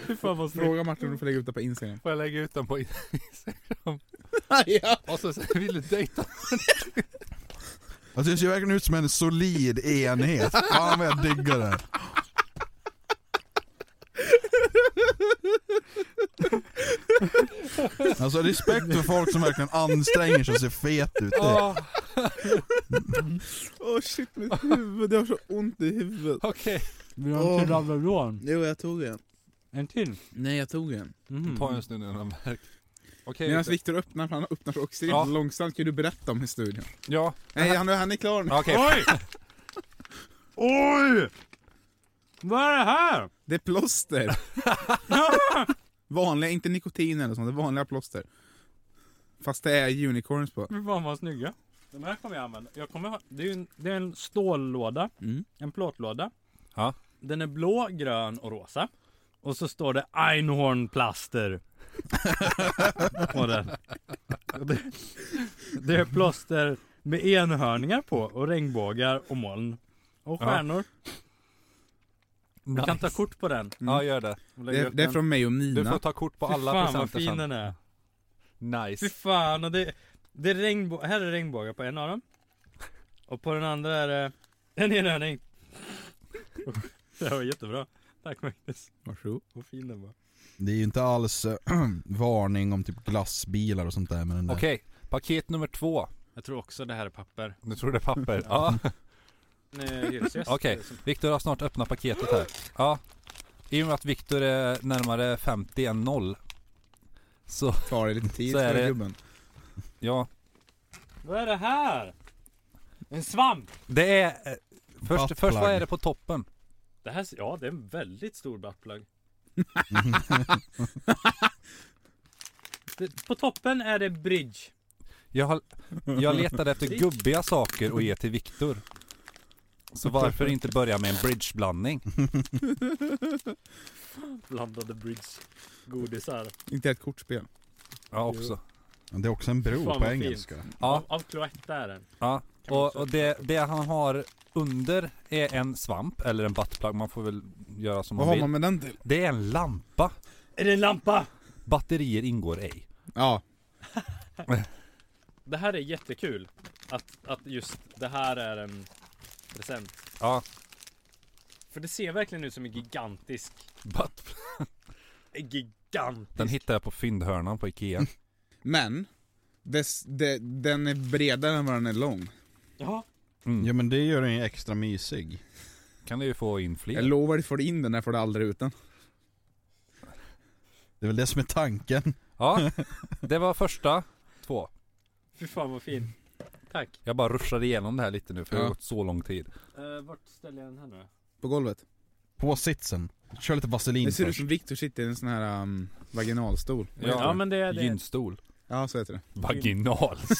Fy fan vad snyggt.
Fråga Martin om du får lägga ut det på Instagram.
Får jag lägga ut den på
ja.
Och så säger vill du dejta?
Alltså det ser verkligen ut som en solid enhet. Fan vad jag diggar det. Alltså respekt för folk som verkligen anstränger sig och ser fet ut. Det.
Ja,
Åh shit, mitt huvud. Jag har så ont i huvudet.
okej.
Vi har en till
Åh.
Alvedon.
Jo, jag tog en.
En till.
Nej, jag tog en.
Mm.
Ta en stund innan de märker. Okej.
Medan Viktor öppnar, för han öppnar så extremt
Ja.
långsamt, kan du berätta om historien?
Ja.
Nej, han, han är klar nu.
Okej. Oj!
Oj! Vad är det här?
Det är plåster! vanliga, inte nikotin eller sånt, det är vanliga plåster. Fast det är unicorns på.
Fy fan vad snygga. De här kommer jag använda. Jag kommer, ha- det, är ju en, det är en stållåda,
Mm.
en plåtlåda.
Ja.
Den är blå, grön och rosa. Och så står det Einhorn plaster. på den. Det, det är plåster med enhörningar på och regnbågar och moln. Och
Ja.
stjärnor. Du kan ta
Nice.
kort på den.
Ja, gör det.
och
Det
lägga
är,
upp
det är
den.
från mig och
Du får
Nina.
ta kort på
Fy
alla
fan vad
presenter
fin
sen.
den är. Fy
Nice.
fan, och det, det är regnbå- här är regnbågar på en av dem Och på den andra är det en enhörning Det här var jättebra Tack Magnus,
Varsågod.
vad fin den var
Det är ju inte alls eh, varning om typ glassbilar och sånt där med den där.
Okej, paket nummer två.
Jag tror också det här är papper
Nu tror du det är papper. Ja. Okej. Viktor har snart öppnat paketet här. Ja. I och med att Viktor är närmare 50 än 0. Så,
Tar det lite tid
Så är
för
det.
gubben.
ja.
Vad är det här? En svamp!
Det är... eh, Först,
Buttplug.
först vad är det på toppen?
Det här, ser- ja det är en väldigt stor buttplug Det- På toppen är det bridge
Jag, har, jag letade efter gubbiga saker att ge till Viktor. Så varför inte börja med en bridgeblandning?
Blandade bridge Godisar
Inte ett kortspel.
Ja, också.
Det är också en bro
Fan, vad
på
fint.
engelska.
Ja.
Av, av Cloetta är den
Ja,
Kan man
och,
också-
och det, det han har under är en svamp, eller en buttplug, man får väl göra som
Vad
man
har
vill.
man med den till?
Det är en lampa.
Är det en lampa?
Batterier ingår ej.
Ja,
Det här är jättekul att, att just det här är en present
Ja,
För det ser verkligen ut som en gigantisk
butt,
en Gigantisk
den hittade jag på fyndhörnan på Ikea.
men dess, de, den är bredare än vad den är lång.
Ja
Mm.
Ja men det gör den ju extra mysig.
Kan du ju få in
Jag
fler.
lovar, dig, får du in den här får du aldrig ut den.
Det är väl det som är tanken.
Ja, det var första två.
Fy fan vad fin Tack
Jag bara ruschade igenom det här lite nu för det har
Ja.
gått så lång tid.
uh, Vart ställer jag den här nu då?
På golvet.
På sitsen. Kör lite vaselin
Det ser ut
först.
som Viktor sitter i en sån här um, vaginalstol.
Ja.
Ja men det, det,
Gynstol.
Ja, så heter det.
Vaginalstol.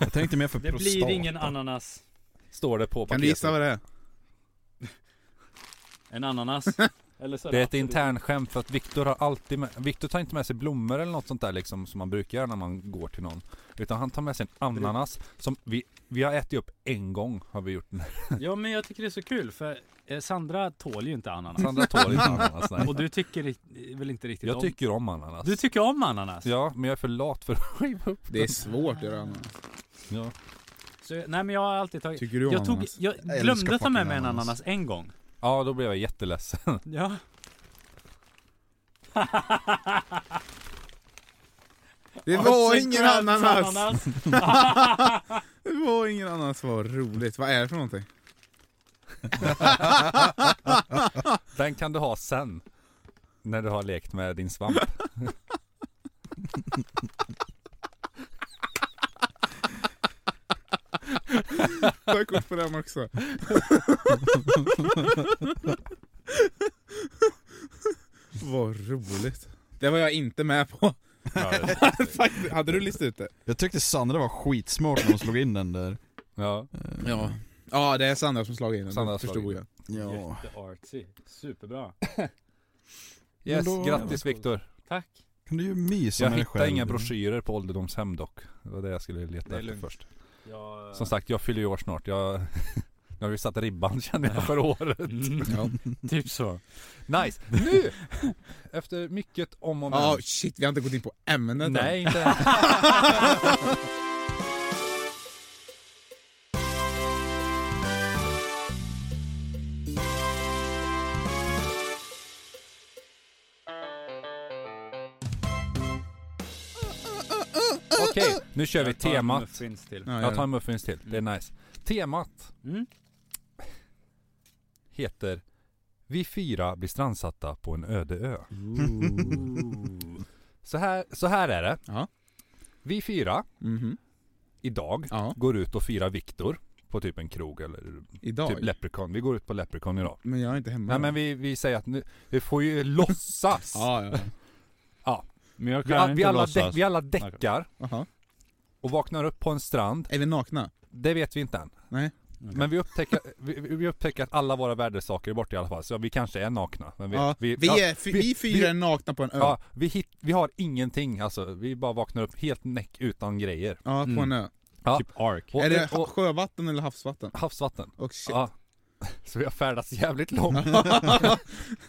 Jag tänkte mer för
det
prostata.
blir ingen ananas
Står det på
Kan du gissa
paketet.
vad det är?
En ananas Eller så
Det är ett
absolut-
internskämt för att Viktor har alltid med, Viktor tar inte med sig blommor eller något sånt där liksom som man brukar göra när man går till någon. Utan han tar med sig en ananas som vi, vi har ätit upp en gång har vi gjort.
Ja men jag tycker det är så kul för eh, Sandra tål ju inte ananas
Sandra tål inte ananas nej.
Och du tycker ri- väl inte riktigt
Jag
om
tycker om ananas.
Du tycker om ananas?
Ja, men jag är för lat för att skiva upp
Det är svårt att göra ananas.
Ja.
Så, nej men jag har alltid tagit
Tycker du om
Jag, tog,
ananas?
jag
älskar
glömde ta med
fucking
mig en
ananas.
ananas en gång
ja, då blev jag jätteledsen.
Ja.
Det var ingen ananas! Det var ingen ananas, vad roligt. Vad är det för någonting?
Den kan du ha sen. När du har lekt med din svamp.
Ta kort på den också. vad roligt. Det var jag inte med på. Faktiskt, hade du listat ut det?
Jag tyckte Sandra var skitsmart när hon slog in den där.
Ja.
Eh,
Ja. Ja, det är Sandra som slagit in den.
Sandra har
Det förstod
slagit
jag.
Ja.
Jätteartsy. Superbra.
Yes,
Men då-
grattis Viktor.
Tack.
Kan du ju mysa
Jag
med dig
hittade
själv?
inga broschyrer på ålderdomshem dock. Det var det jag skulle
Det
leta
är
efter
lugnt.
först.
Jag,
Som sagt, jag fyller ju år snart. Jag... Nu har vi satt ribban känner jag för året.
Mm,
Ja.
typ så.
Nice! Nu! Efter mycket om och men.
Ja, shit, vi har inte gått in på ämnet än.
Nej, inte än. Okej, nu kör vi
Jag tar en
temat.
muffins till.
Ja,
Jag tar
ja.
en muffins till, det är nice. Temat
Mm.
heter Vi fyra blir strandsatta på en öde ö. Så här, så här är det.
Ja.
Vi fyra
Mhm.
idag
Ja,
går ut och firar Viktor på typ en krog eller
idag.
typ Leprechaun. Vi går ut på Leprechaun idag.
men jag är inte hemma.
Nej men vi, vi säger att nu, vi får ju låtsas.
Mm. Ja, ja.
Men jag
vi,
kan
a- vi,
inte
alla
låtsas.
däck, vi alla däckar
Aha.
och vaknar upp på en strand.
Är vi nakna?
Det vet vi inte än.
Nej.
Men vi upptäcker, vi, vi upptäcker att alla våra värdesaker är borta i alla fall. Så vi kanske är nakna. Men vi,
ja.
vi,
vi,
ja,
är, vi, vi fyra är nakna på en ö.
ja,
Ja,
vi, hit, vi har ingenting alltså. Vi bara vaknar upp helt näck utan grejer.
på
Mm.
en ö.
Ja.
Typ Ark.
Och,
är det ha-
och,
sjövatten eller havsvatten?
havsvatten.
Och shit.
Ja. Så vi har färdats jävligt långt.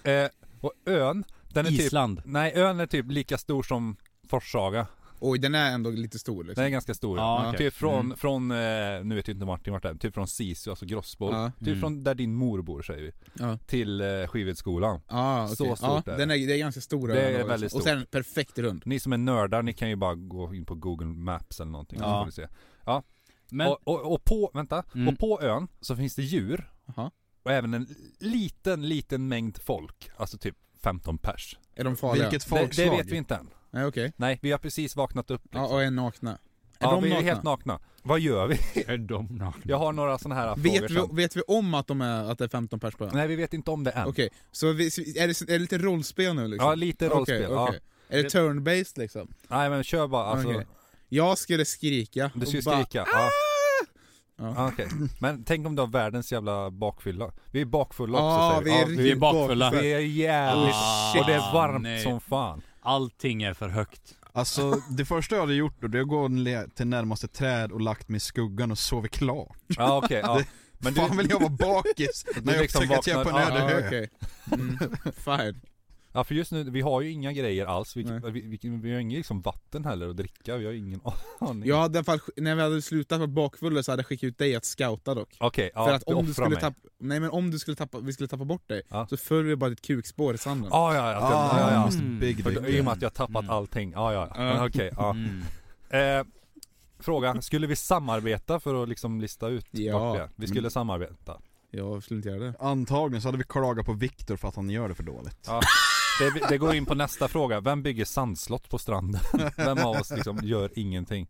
eh, och ön, den är typ,
Island.
nej ön är typ lika stor som Forshaga.
Oj, den är ändå lite stor liksom.
Den är ganska stor.
Ja, okej.
Typ från,
Mm.
från eh, nu vet jag inte Martin vart det är, typ från Sisu, alltså Grossbo.
Ja,
Typ
Mm.
från där din mor bor säger vi.
ja.
Till eh, Skivedskolan.
ja Ah, okej.
Så stort
ja,
är det.
den är, det är ganska stor
Det
ö
är
ändå, liksom.
väldigt
Och sen perfekt rund.
Ni som är nördar, ni kan ju bara gå in på Google Maps eller någonting så
Ja.
får ni se.
Men,
Och, och, och på, vänta,
Mm.
och på ön så finns det djur.
Aha.
Och även en liten, liten mängd folk. Alltså typ 15 pers.
Är de farliga?
Det,
Vilket folkslag.
det vet vi inte än.
Nej okej.
Nej, vi har precis vaknat upp. liksom.
Ja, och är nakna. Är
Ja,
de
vi är
nakna?
helt nakna. Vad gör vi?
är de nakna?
Jag har några sådana här frågor
vet,
sen.
vi, vet vi om att, de är, att det är 15 pers på ön?
Nej, vi vet inte om det än.
Okej, så vi, är, det, är det lite rollspel nu liksom?
Ja, lite
Okej,
rollspel. ja.
okej. Är det turn-based liksom?
Nej men kör bara, alltså,
Okej. Jag skulle skrika
du ska ju
och bara- "Ah!"
skrika. Ja.
Ja.
Ja, okej. Men tänk om du har världens jävla bakfylla. Vi är bakfulla
Ja,
också
vi
säger
är
vi.
vi är
riktigt
bakfulla.
Ja, vi är jävligt...
Ah,
och det är varmt
nej.
som fan.
Allting är för högt.
Alltså det första jag hade gjort då, det är att gå le- till närmaste träd och lagt mig i skuggan och sovit klart.
Ja okej, ja.
Det-
Men du,
Fan vill jag vara bakis när jag
liksom
upptäcker att jag är på en
vaknar-
öde
Ja,
ö.
okej. Mm. Fine.
ja för just nu, vi har ju inga grejer alls. Vi,
Nej.
vi, vi, vi har inget liksom vatten heller att dricka, vi har ingen aning.
Jag hade i alla fall, när vi hade slutat vara bakfulla så hade jag skickat ut dig att scouta dock.
Okej, ja,
För att om du
offra
skulle
mig.
tappa, nej men om du skulle tappa, vi skulle tappa bort dig,
Ja.
så föll vi bara ditt kukspår i sanden.
Ah, ja, ja, ja, ja, ja.
Mm.
Big
För, då- I och
dick.
med att jag har tappat
Mm.
allting. Ah, ja, ja.
Ja.
Okej, ja.
Mm.
Eh, fråga, skulle vi samarbeta för att liksom lista ut
Ja.
vart vi är? Vi
Mm.
skulle samarbeta.
Jag skulle inte göra det.
Antagligen så hade vi klagat på Viktor för att han gör det för dåligt.
Ja. Det, det går in på nästa fråga, vem bygger sandslott på stranden? Vem av oss liksom gör ingenting?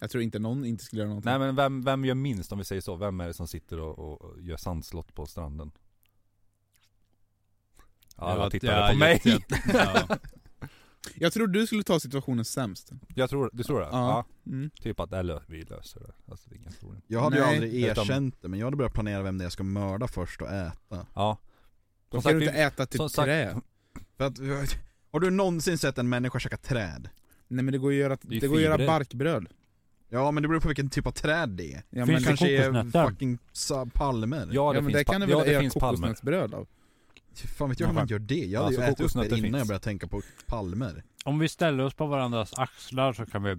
Jag tror inte någon inte skulle göra någonting.
Nej men vem, vem gör minst om vi säger så? Vem är det som sitter och, och gör sandslott på stranden? Ja, alla
Ja,
tittade
ja,
på mig!
jätte- ja.
Jag tror du skulle ta situationen sämst.
Jag tror, du tror det? Ja.
Ja. Mm.
typ att det lö- vi löser det. Alltså, det är inga problem.
Jag hade ju
Nej.
aldrig
Utan-
erkänt det, men jag hade börjat planera vem det är jag ska mörda först och äta.
Ja. Som
Då kan
sagt,
du
vi,
inte äta typ
som sagt-
trä.
För att, har du någonsin sett en människa käka träd?
Nej men det går ju att göra,
Det är ju
det går att göra
fibrer.
barkbröd.
Ja men det beror på vilken typ av träd det är.
Ja, men,
Finns
Det
det
kanske är
kokosnötter?
fucking sa- palmer.
ja,
ja,
det
men
finns,
det kan
pa-
du
ja,
väl
det
göra
finns palmer.
kokosnötsbröd av?
Fan vet jag hur man gör det? Jag hade
Alltså,
ju ätit upp
kokosnötter
det innan jag
finns.
började tänka på palmer.
Om vi ställer oss på varandras axlar så kan vi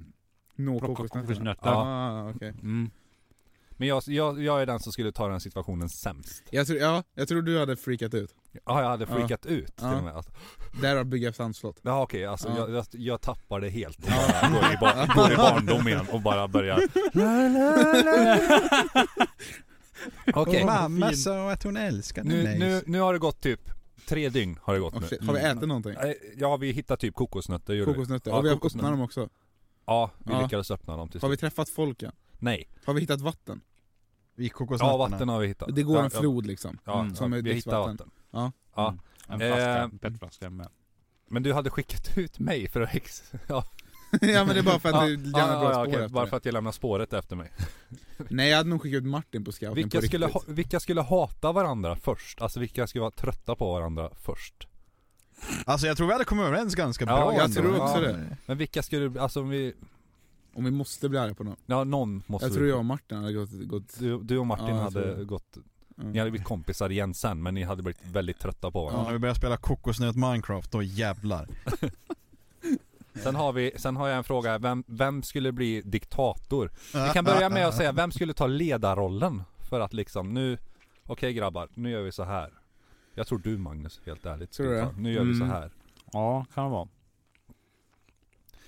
Nå
plocka
kokosnötter.
kokosnötter.
Ja.
Ah, okej.
Mm.
Men jag, jag, jag är den som skulle ta den situationen sämst.
jag, tror, ja, jag tror du hade freakat ut.
Ja, jag hade
Ja.
freakat ut till
Ja.
och med. Alltså,
Där har bygga sandslott.
Jaha okej, alltså
Ja.
jag, jag, jag tappar det helt och bara går i, bar, går i barndom igen och bara börjar Okej,
Och mamma
Fin.
sa att hon älskade
nu,
mig.
nu, nu har det gått typ tre dygn har det gått
Oh,
nu
shit. Har vi
Mm.
ätit någonting?
Nej, Ja vi hittar typ kokosnötter gjorde vi.
Kokosnötter?
Ja,
och vi har
kokosnötter.
öppnat dem också.
Ja, vi
Ja.
lyckades öppna dem till
Har vi
slut
träffat folk än?
Nej,
Har vi hittat vatten?
I kokosnötterna.
ja vatten har vi hittat
Det går
ja,
en flod liksom.
Ja, ja,
Mm.
ja
Som är
vi hittar
dricksvatten.
vatten
En
Eh,
flaska, en petflaska med.
Men du hade skickat ut mig för att ex... Ja,
ja men det är bara för att du lämnar bra spår
okej,
efter
Bara
dig.
för att jag lämnar spåret efter mig
alltså. Nej jag hade nog skickat ut Martin på scouten
vilka
på
skulle,
riktigt.
ha, vilka skulle hata varandra först? Alltså vilka skulle vara trötta på varandra först?
Alltså jag tror vi hade kommit överens ganska
Ja,
bra
jag
ändå.
tror också
det.
Men vilka skulle, alltså om vi,
Om vi måste bli arga på någon.
ja någon måste
Jag tror jag och Martin hade gått... gått
Du, du och Martin
Ja, jag tror
hade
det.
gått,
mm.
ni hade blivit kompisar igen sen men ni hade blivit väldigt trötta på
Ja,
varandra.
när vi börjar spela kokosnöt Minecraft, då jävlar.
Sen har vi, sen har jag en fråga, vem, vem skulle bli diktator? Vi kan börja med att säga, vem skulle ta ledarrollen? För att liksom nu, okej grabbar, nu gör vi så här. Jag tror du Magnus, helt ärligt.
Tror
skulle
du
ta,
det?
nu gör vi så
Mm.
här.
Ja, kan det vara.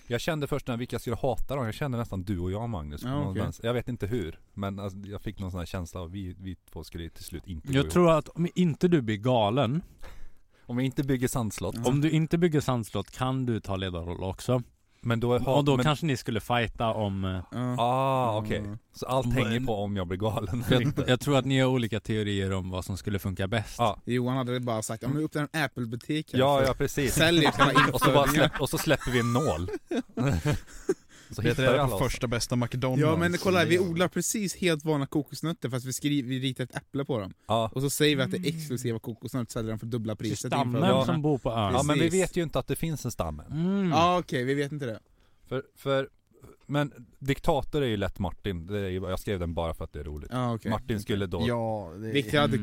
Jag kände först när vilka jag skulle hata dem, jag kände nästan du och jag Magnus.
Ja,
på någon
okej.
vänster. Jag vet inte hur, men alltså, jag fick någon sån här känsla av vi, vi två skulle till slut inte gå
Jag
ihop.
tror att om inte du blir galen
Om vi inte bygger sandslott.
Om du inte bygger sandslott kan du ta ledarroll också.
Men då har...
Och då
men,
kanske ni skulle fighta om... eh,
Ja.
Ah, okej.
Mm.
Så allt hänger på om jag blir galen eller
Jag,
inte.
jag tror att ni har olika teorier om vad som skulle funka bäst.
Ja.
Johan hade bara sagt, ja men upp till en Apple-butik här
Ja,
för-
ja precis.
Säljer till alla
Och så, bara
infödingar.
släpp, och så släpper vi en nål. så
Det
hittar
är
vi
det
alla
på
oss.
första bästa McDonalds.
Ja men kolla här, vi odlar precis helt vanliga kokosnötter fast vi, skriver, vi ritar ett äpple på dem.
Ja.
Och så säger vi att det
Mm.
är exklusiva kokosnötter, säljer dem för dubbla
Till
priset.
stammen
inför-
Ja.
som bor på ön.
ja, men vi
precis.
vet ju inte att det finns en stam än.
Mm.
Ja okej, vi vet inte det.
För, för, men diktator är ju lätt Martin. Det är ju, jag skrev den bara för att det är roligt.
Ja okej.
Martin skulle då...
Ja, det
Viktigt hade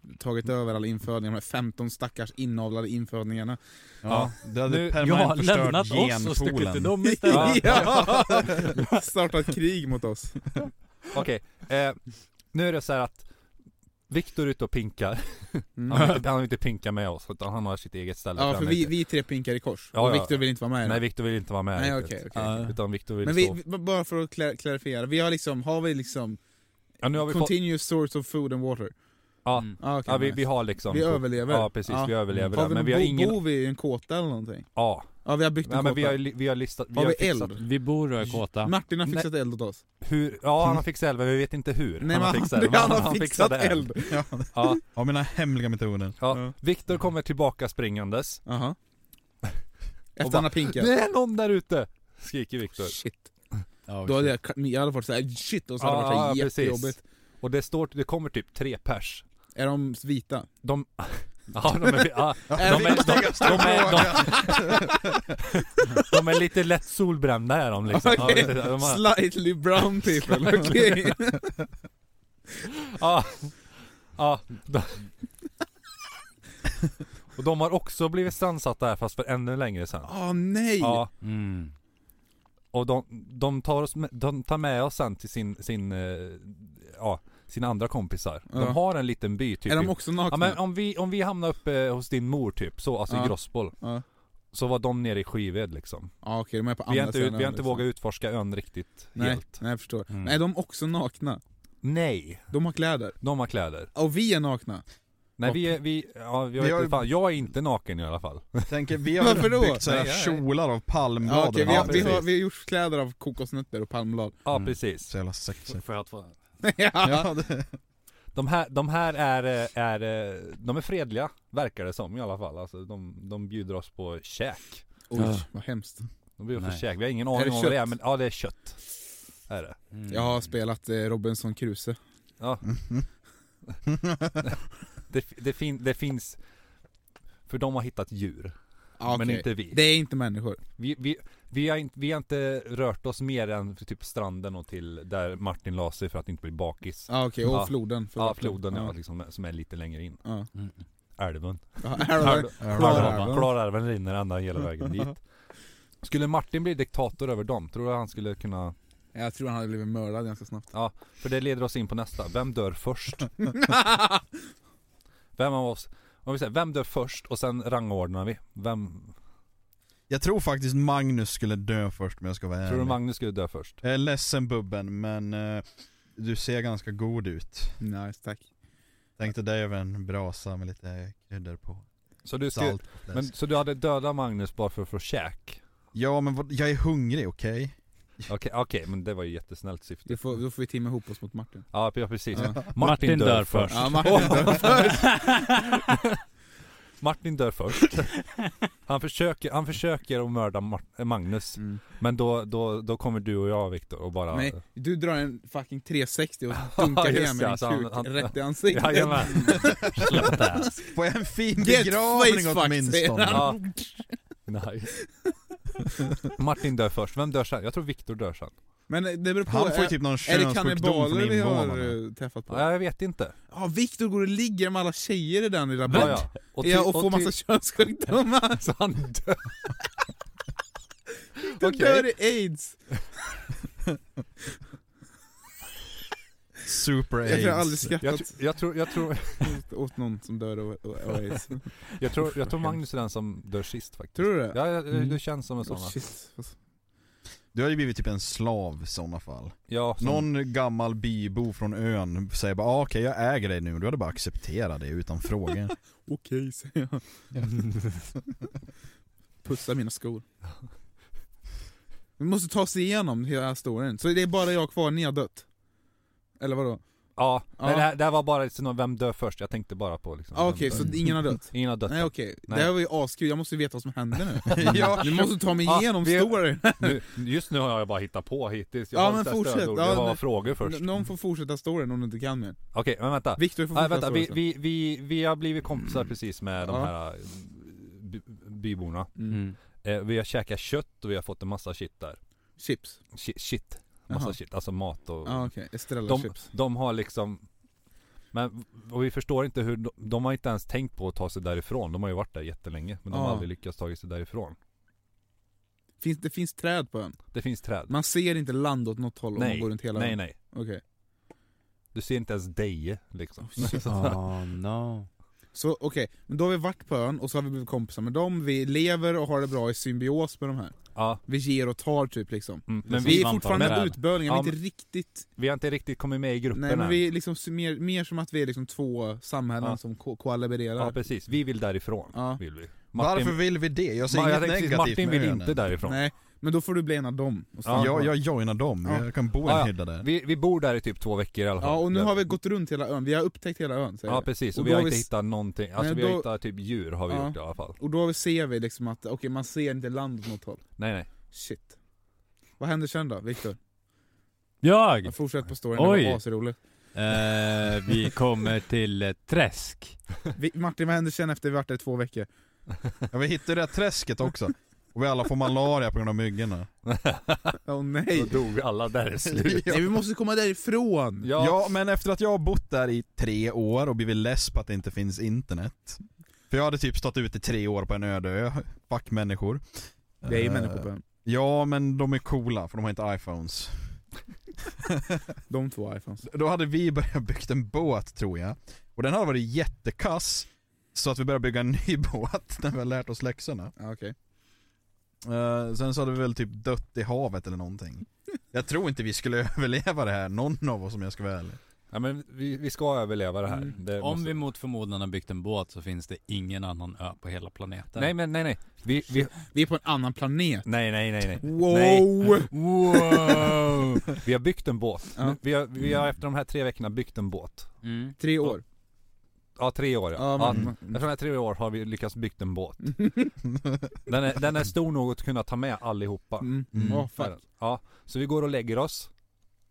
Mm.
tagit över alla infödingar, de här 15 stackars inavlade infödningarna.
ja. Det hade
Nu, jag
permanent
har
förstört
lämnat oss och stuckit till
genpoolen.
dem istället.
ja! Startat krig mot oss.
Okej, eh, nu är det så här att Viktor är ute och pinkar.
Mm.
Han vill, inte, han vill inte pinka med oss, utan han har sitt eget ställe.
Ja
där
för
han
vi,
inte-
vi tre pinkar i kors,
Ja,
och
ja.
Viktor vill inte vara med i det.
Nej, Viktor vill inte vara med
Nej,
riktigt.
okej, okej, okej.
Utan Viktor vill
Men
stå...
vi, vi- bara för att kla- klarifiera, vi har liksom, har vi liksom
ja, nu har vi fått...
continuous source of food and water?
Ja.
Mm.
Ah, okej,
Ja, vi,
nice.
vi har liksom...
Vi överlever.
Ja, precis. Vi överlever.
Har vi,
men
men
vi har ingen...
Bor vi i en kåta eller någonting?
Ja.
Ja vi har byggt en
Nej, men vi
kåta.
har, li- vi har listat...
Har vi
fixat
eld?
Vi bor och är kåta.
Martin har fixat eld åt oss.
Hur? Ja, han har fixat eld, men vi vet inte hur.
Nej, men
fixat
han,
eld, men
han har fixat
fixade
eld.
Ja,
Ja,
av mina hemliga metoder.
ja.
Ja.
Viktor kommer tillbaka springandes.
Jaha. Efter
Och bara,
han har pinkat.
Det är någon där ute! Skriker Viktor.
Shit.
Ja,
Då hade jag, jag hade varit såhär shit och så hade det
Ja,
varit såhär
ja, precis.
jättejobbigt.
Och det står, det kommer typ tre pers.
Är de vita?
De... Ja, de är... Ja, de
Är
är, de,
vi-
de, är, de, de är lite lätt solbrända är de liksom. Ja,
Okej.
precis. de har,
Slightly brown people, okej.
ja, ja, de, och de har också blivit strandsatta här fast för ännu längre sen.
Åh nej!
Ja,
Mm.
och de, de, tar oss med, de tar med oss sen till sin, sin, eh, ja, sina andra kompisar. De
Ja.
har en liten by typ.
är
i-
de också
ja,
nakna?
men om vi, om vi hamnar uppe hos din mor typ, så, alltså i
Ja.
Grossboll.
Ja.
Så var de nere i Skived liksom.
Ja, okej, de är på
Vi
andra
har inte, ut-
sidan
vi har inte
liksom.
vågat utforska ön riktigt
Nej,
helt.
nej jag förstår.
Mm.
Nej, de är också nakna.
Nej,
De har kläder.
de har kläder.
Och vi är nakna.
Nej vi är, vi, ja, jag,
Vi
vet
har-
inte fan, jag är inte naken i alla fall.
Tänker, vi har
Varför då?
byggt sådana
Nej,
här
jag är-
kjolar av palmbladen.
Ja, okej, vi,
Ja,
har, vi, har,
precis.
vi har gjort kläder av kokosnötter och palmblad.
Ja
Mm.
precis.
Så jävla sexigt.
Får jag två?
ja.
Ja, det...
De här, de här är, eh, är, eh, de är fredliga, verkar det som i alla fall. Alltså, de, de bjuder oss på käk.
Oj, vad hemskt.
De bjuder oss på
Nej.
käk, vi har ingen
Är
aning
det
om vad det är
kött?
men ja det är kött. Är det.
Mm.
Jag har spelat eh, Robinson Crusoe.
Ja. det, det, fin, det finns, för de har hittat djur.
Ja,
Men
okej.
inte vi.
Det är inte människor.
Vi, vi, vi, har inte, vi har inte rört oss mer än för typ stranden och till där Martin la sig för att inte bli bakis.
Ja, okej, och
Ja.
floden.
Ja,
Förlåt.
floden ja, liksom, som är lite längre in.
Ja.
Mm.
Älven.
Ja, här har vi-
Klarälven.
Klarälven.
Klarälven rinner ända hela vägen dit. Skulle Martin bli diktator över dem, tror du han skulle kunna...
Jag tror han hade blivit mördad ganska snabbt.
För det leder oss in på nästa, vem dör först? Vem av oss... Om vi säger, vem dör först och sen rangordnar vi? Vem...
Jag tror faktiskt Magnus skulle dö först om jag ska vara
Tror du
ärlig.
Magnus skulle dö först?
jag är ledsen Bubben, men eh, du ser ganska god ut.
nice, tack.
Tänkte dig över en brasa med lite kryddor på.
Så du, skulle,
Salt och
men,
fläsk.
så du hade dödat Magnus bara för att få käk?
Ja men vad, jag är hungrig, okej?
Okej, okej, men det var ju jättesnällt syfte.
Då får, då får vi timma ihop oss mot Martin.
Ja, ja precis.
Ja.
Martin,
Martin
dör,
dör
först.
Ja, Martin dör först.
Martin dör först. Han försöker, han försöker att mörda Mar- Magnus.
Mm.
Men då, då, då kommer du och jag Viktor och bara...
Nej, du drar en fucking 360 och dunkar
Just
igen med
det,
din
så han-
kuk
han-
rätt i ansiktet.
Jajamän.
Släpp det här.
Får jag en fin
Get
begravning
face fucked, säger
åtminstone?
han.
Ja. Nice. Martin dör först, vem dör sen? Jag tror Viktor dör sen.
Men eh, det beror på.
Han får ju
är-
typ någon
är det
könssjukdom från
kannibaler vi har
invånarna.
eh, träffat på?
Ja, jag vet inte.
Ja, Viktor går och ligger med alla tjejer i den lilla
Ja,
byn.
ja. Och, till-
Ja, och får
till-
massa könssjukdomar.
Så han dör.
Du
Okej.
dör i aids.
Super
Jag tror jag
aids.
aldrig
Jag,
skrattat
tr- jag, tror, jag, tror,
åt någon som dör av av aids.
jag, tror, jag tror Magnus är den som dör sist faktiskt.
Tror du det?
Ja, ja, det,
Mm.
det känns som en sån.
Åh, shit. Vad-
Du har ju blivit typ en slav i sådana fall.
Ja, som-
Någon gammal bybo från ön säger bara ah, okej jag äger dig nu, du hade bara accepterat det utan frågor.
Okej, säger jag. Pussa mina skor. Vi måste ta oss igenom hela storyn, så det är bara jag kvar, ni har dött. Eller vadå?
Ja,
Ja.
Nej, det, här, det här var bara ett scenario, vem dör först? Jag tänkte bara på liksom
Ah,
vem
Okej,
dör.
så ingen har dött?
Ingen har dött
Nej okej,
Nej.
det här var ju askul, jag måste ju veta vad som händer nu.
ja,
Du måste ta mig
Ja, Ah,
igenom
vi-
storyn.
nu, Just nu har jag bara hittat på hittills, jag
Ja,
har
men
inte
fortsätt.
stödord,
Ja,
det var
men-
frågor först
N- Någon får fortsätta storyn om du inte kan mer.
Okej, men vänta
Viktor får
Nej,
fortsätta
Ah, vänta, vi,
storyn
vi, vi, vi har blivit kompisar precis med de
Ja.
här eh, by, byborna
sen. Mm.
eh, Vi har käkat kött och vi har fått en massa shit där
Chips.
Shi- Shit, massa
Jaha.
shit, alltså mat och
Ja ah, okej, Estrella
de,
chips.
de har liksom men och vi förstår inte hur, de, de har inte ens tänkt på att ta sig därifrån. De har ju varit där jättelänge men de har
Ja.
aldrig lyckats ta sig därifrån.
Finns, det finns träd på ön.
Det finns träd.
Man ser inte land åt något håll om
Nej,
man går runt hela
Nej
ön.
nej,
Okej.
du ser inte ens Deje liksom.
Oh, shit.
Oh no.
Så okej, men då har vi varit på ön och så har vi blivit kompisar med dem, vi lever och har det bra i symbios med de här.
ja,
Vi ger och tar typ liksom.
mm, men
Vi
vi,
är fortfarande
men-
utbölingar,
Ja,
vi är inte riktigt...
vi har inte riktigt kommit med i gruppen
Nej men
än.
vi är liksom mer, mer som att vi är liksom två samhällen
Ja.
som ko- kollaborerar.
Ja precis, vi vill därifrån.
Ja.
Vill vi.
varför vill vi det? Jag ser
Ma- jag
inget
tänkte precis,
negativt
Martin
med
vill
önen.
inte därifrån.
Nej, men då får du bli en av dem. Och stanna
Ja,
kvar.
jag, jag joinar dem,
Ja.
jag kan bo
Ja,
en
ja.
hydda där.
Vi, vi bor där i typ två veckor i alla fall.
ja, och nu
Där-
har vi gått runt hela ön, vi har upptäckt hela ön säger
Ja
jag.
precis, och,
Och
vi
då
har
har
inte
vi s-
hittat någonting. Alltså
Nej,
vi har
då-
hittat typ djur har vi
Ja.
gjort i alla fall.
Och då ser vi liksom att, okej man ser inte land åt något håll.
Nej nej.
Shit. Vad händer sen då, Viktor?
Jag!
Jag fortsätter på storyn,
Oj.
det var asroligt.
Eh, vi kommer till eh, Träsk.
Vi- Martin, vad händer sen efter vi varit där i två veckor?
Ja, vi hittade det där träsket också. Och vi alla får malaria på grund av myggorna.
Åh
Då
nej!
dog alla där i slut.
Nej vi måste komma därifrån!
Ja,
Ja. men efter att jag har bott där i tre år och blivit less på att det inte finns internet. För jag hade typ stått ute i tre år på en öde ö, fuck människor.
Det är ju
Eh,
människor på ön.
Ja men de är coola för de har inte iPhones.
De två iPhones.
Då hade vi börjat bygga en båt tror jag. Och den hade varit jättekass. Så att vi började bygga en ny båt när vi har lärt oss läxorna.
Ja, okej.
Eh, sen så hade vi väl typ dött i havet eller någonting. Jag tror inte vi skulle överleva det här, någon av oss om jag ska vara ärlig.
ja men vi, vi ska överleva det här.
Mm.
Det
Om
måste-
vi mot förmodan har byggt en båt så finns det ingen annan ö på hela planeten.
Nej men nej nej. Vi, vi,
Vi är på en annan planet.
nej nej nej nej.
Wow!
Nej. Wow! Vi har byggt en båt.
Ja.
Vi, har, vi har efter de här tre veckorna byggt en båt.
Mm.
Tre år.
Ja, tre år ja.
Ja,
ja,
men,
Efter de här tre år har vi lyckats byggt en båt. Den är, den är stor nog att kunna ta med allihopa.
Mm.
Mm.
Åh, fuck.
Ja, så vi går och lägger oss.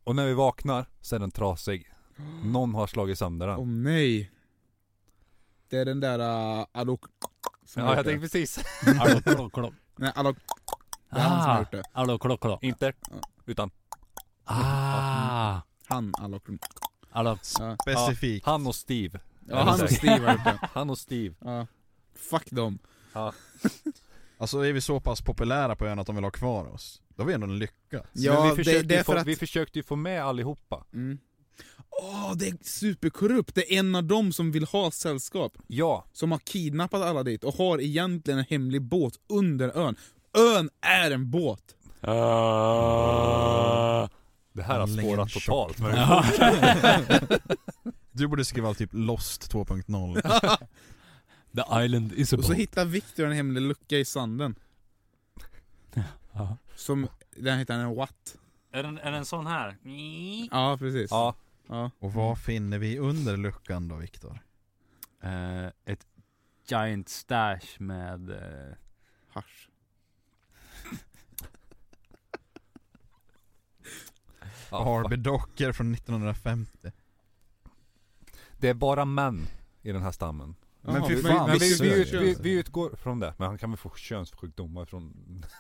Och när vi vaknar så är den trasig. Någon har slagit sönder
Åh
den.
nej! Det är den där uh, Alok... som har
Ja,
gjort
jag
det.
tänkte precis.
Allo klock klock.
Nej, Alok... Det är han som har
Ah,
gjort det.
allo klock klock.
Inte.
Ja.
Utan
Ah,
Han Alok...
allo.
Ja,
Specifikt.
han och Steve.
ja han och Steve har gjort det.
Han och Steve.
Ja. Fuck dem.
Alltså är vi så pass populära på ön att de vill ha kvar oss? Då har vi ändå en lycka.
Men
Ja,
vi,
det,
försökte
det
ju
är
få,
för att...
vi försökte ju få med allihopa.
Mm. Åh, det är superkorrupt! Det är en av dem som vill ha sällskap.
Ja,
Som har kidnappat alla dit och har egentligen en hemlig båt under ön. Ön är en båt! Ah.
det här har
Lägg en
spårat
tjock
totalt. Men
Du borde skriva typ Lost 2.0.
The island is a
Och så
boat.
hittar Victor en hemlig lucka i sanden.
Ja.
Som, den heter en watt.
Är den, är den sån här?
Ja, precis.
ja,
Ja.
Och vad finner vi under luckan då Viktor?
Eh, ett giant stash med... eh,
Hasch.
ja,
Harvey Docker från 1950.
Det är bara män i den här stammen.
Men
Ja,
fy
vi-
fan,
Men vi,
visst
vi,
är
ut,
det.
vi, vi utgår från det. Men han kan väl få könssjukdomar från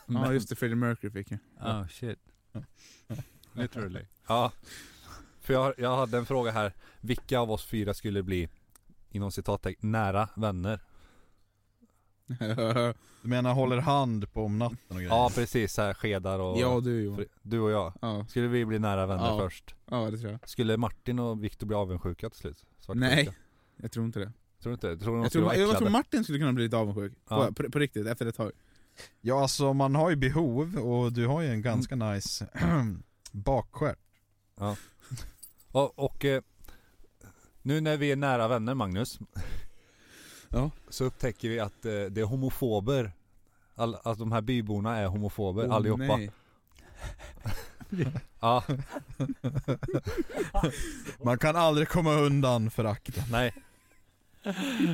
Ja, just det. Freddie Mercury fick ju.
Oh shit. Literally.
Ja. För jag, jag hade en fråga här. Vilka av oss fyra skulle bli, inom citattecken, nära vänner?
Du menar håller hand på om natten och grejer?
Ja precis, så här skedar och...
ja, du Johan.
Fre- Du och jag.
Ja,
Skulle vi bli nära vänner
Ja.
först?
ja, det tror jag.
Skulle Martin och Viktor bli avundsjuka till slut? Svartsjuka?
Nej. Jag tror inte det.
Tror du inte? Tror du de
Jag
skulle
tror,
vara
jag tror
äcklade?
Martin skulle kunna bli lite avundsjuk.
Ja.
På, på, på riktigt, efter ett tag.
Ja alltså man har ju behov och du har ju en ganska nice bakskärm.
Och, och eh, nu när vi är nära vänner Magnus.
Ja.
Så upptäcker vi att eh, det är homofober. All, att de här byborna är homofober
Åh,
allihopa.
nej.
Ja,
Man kan aldrig komma undan förakten.
nej.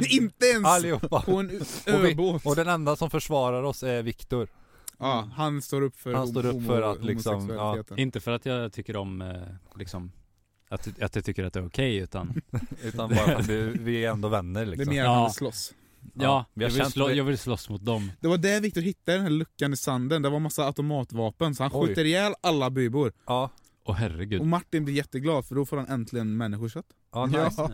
Inte ens
Allihopa.
på en
vi-
öbåt!
Och den enda som försvarar oss är Viktor.
Ja, han står upp för,
Han står upp
homo-
för att liksom, ja.
homosexualiteten.
Inte för att jag tycker om eh, liksom att, att jag tycker att det är okej utan
Utan bara för att vi, vi är ändå vänner
Det är
liksom.
mer
Ja.
än att slåss.
Ja,
vi har
jag, vill
känt
slå,
vi-
jag vill slåss mot dem
Det var där Viktor hittade den här luckan i sanden, det var massa automatvapen så han
Oj.
skjuter ihjäl alla bybor.
Ja,
Åh herregud
Och Martin blir jätteglad för då får han äntligen människokött.
ja, nice.
Ja.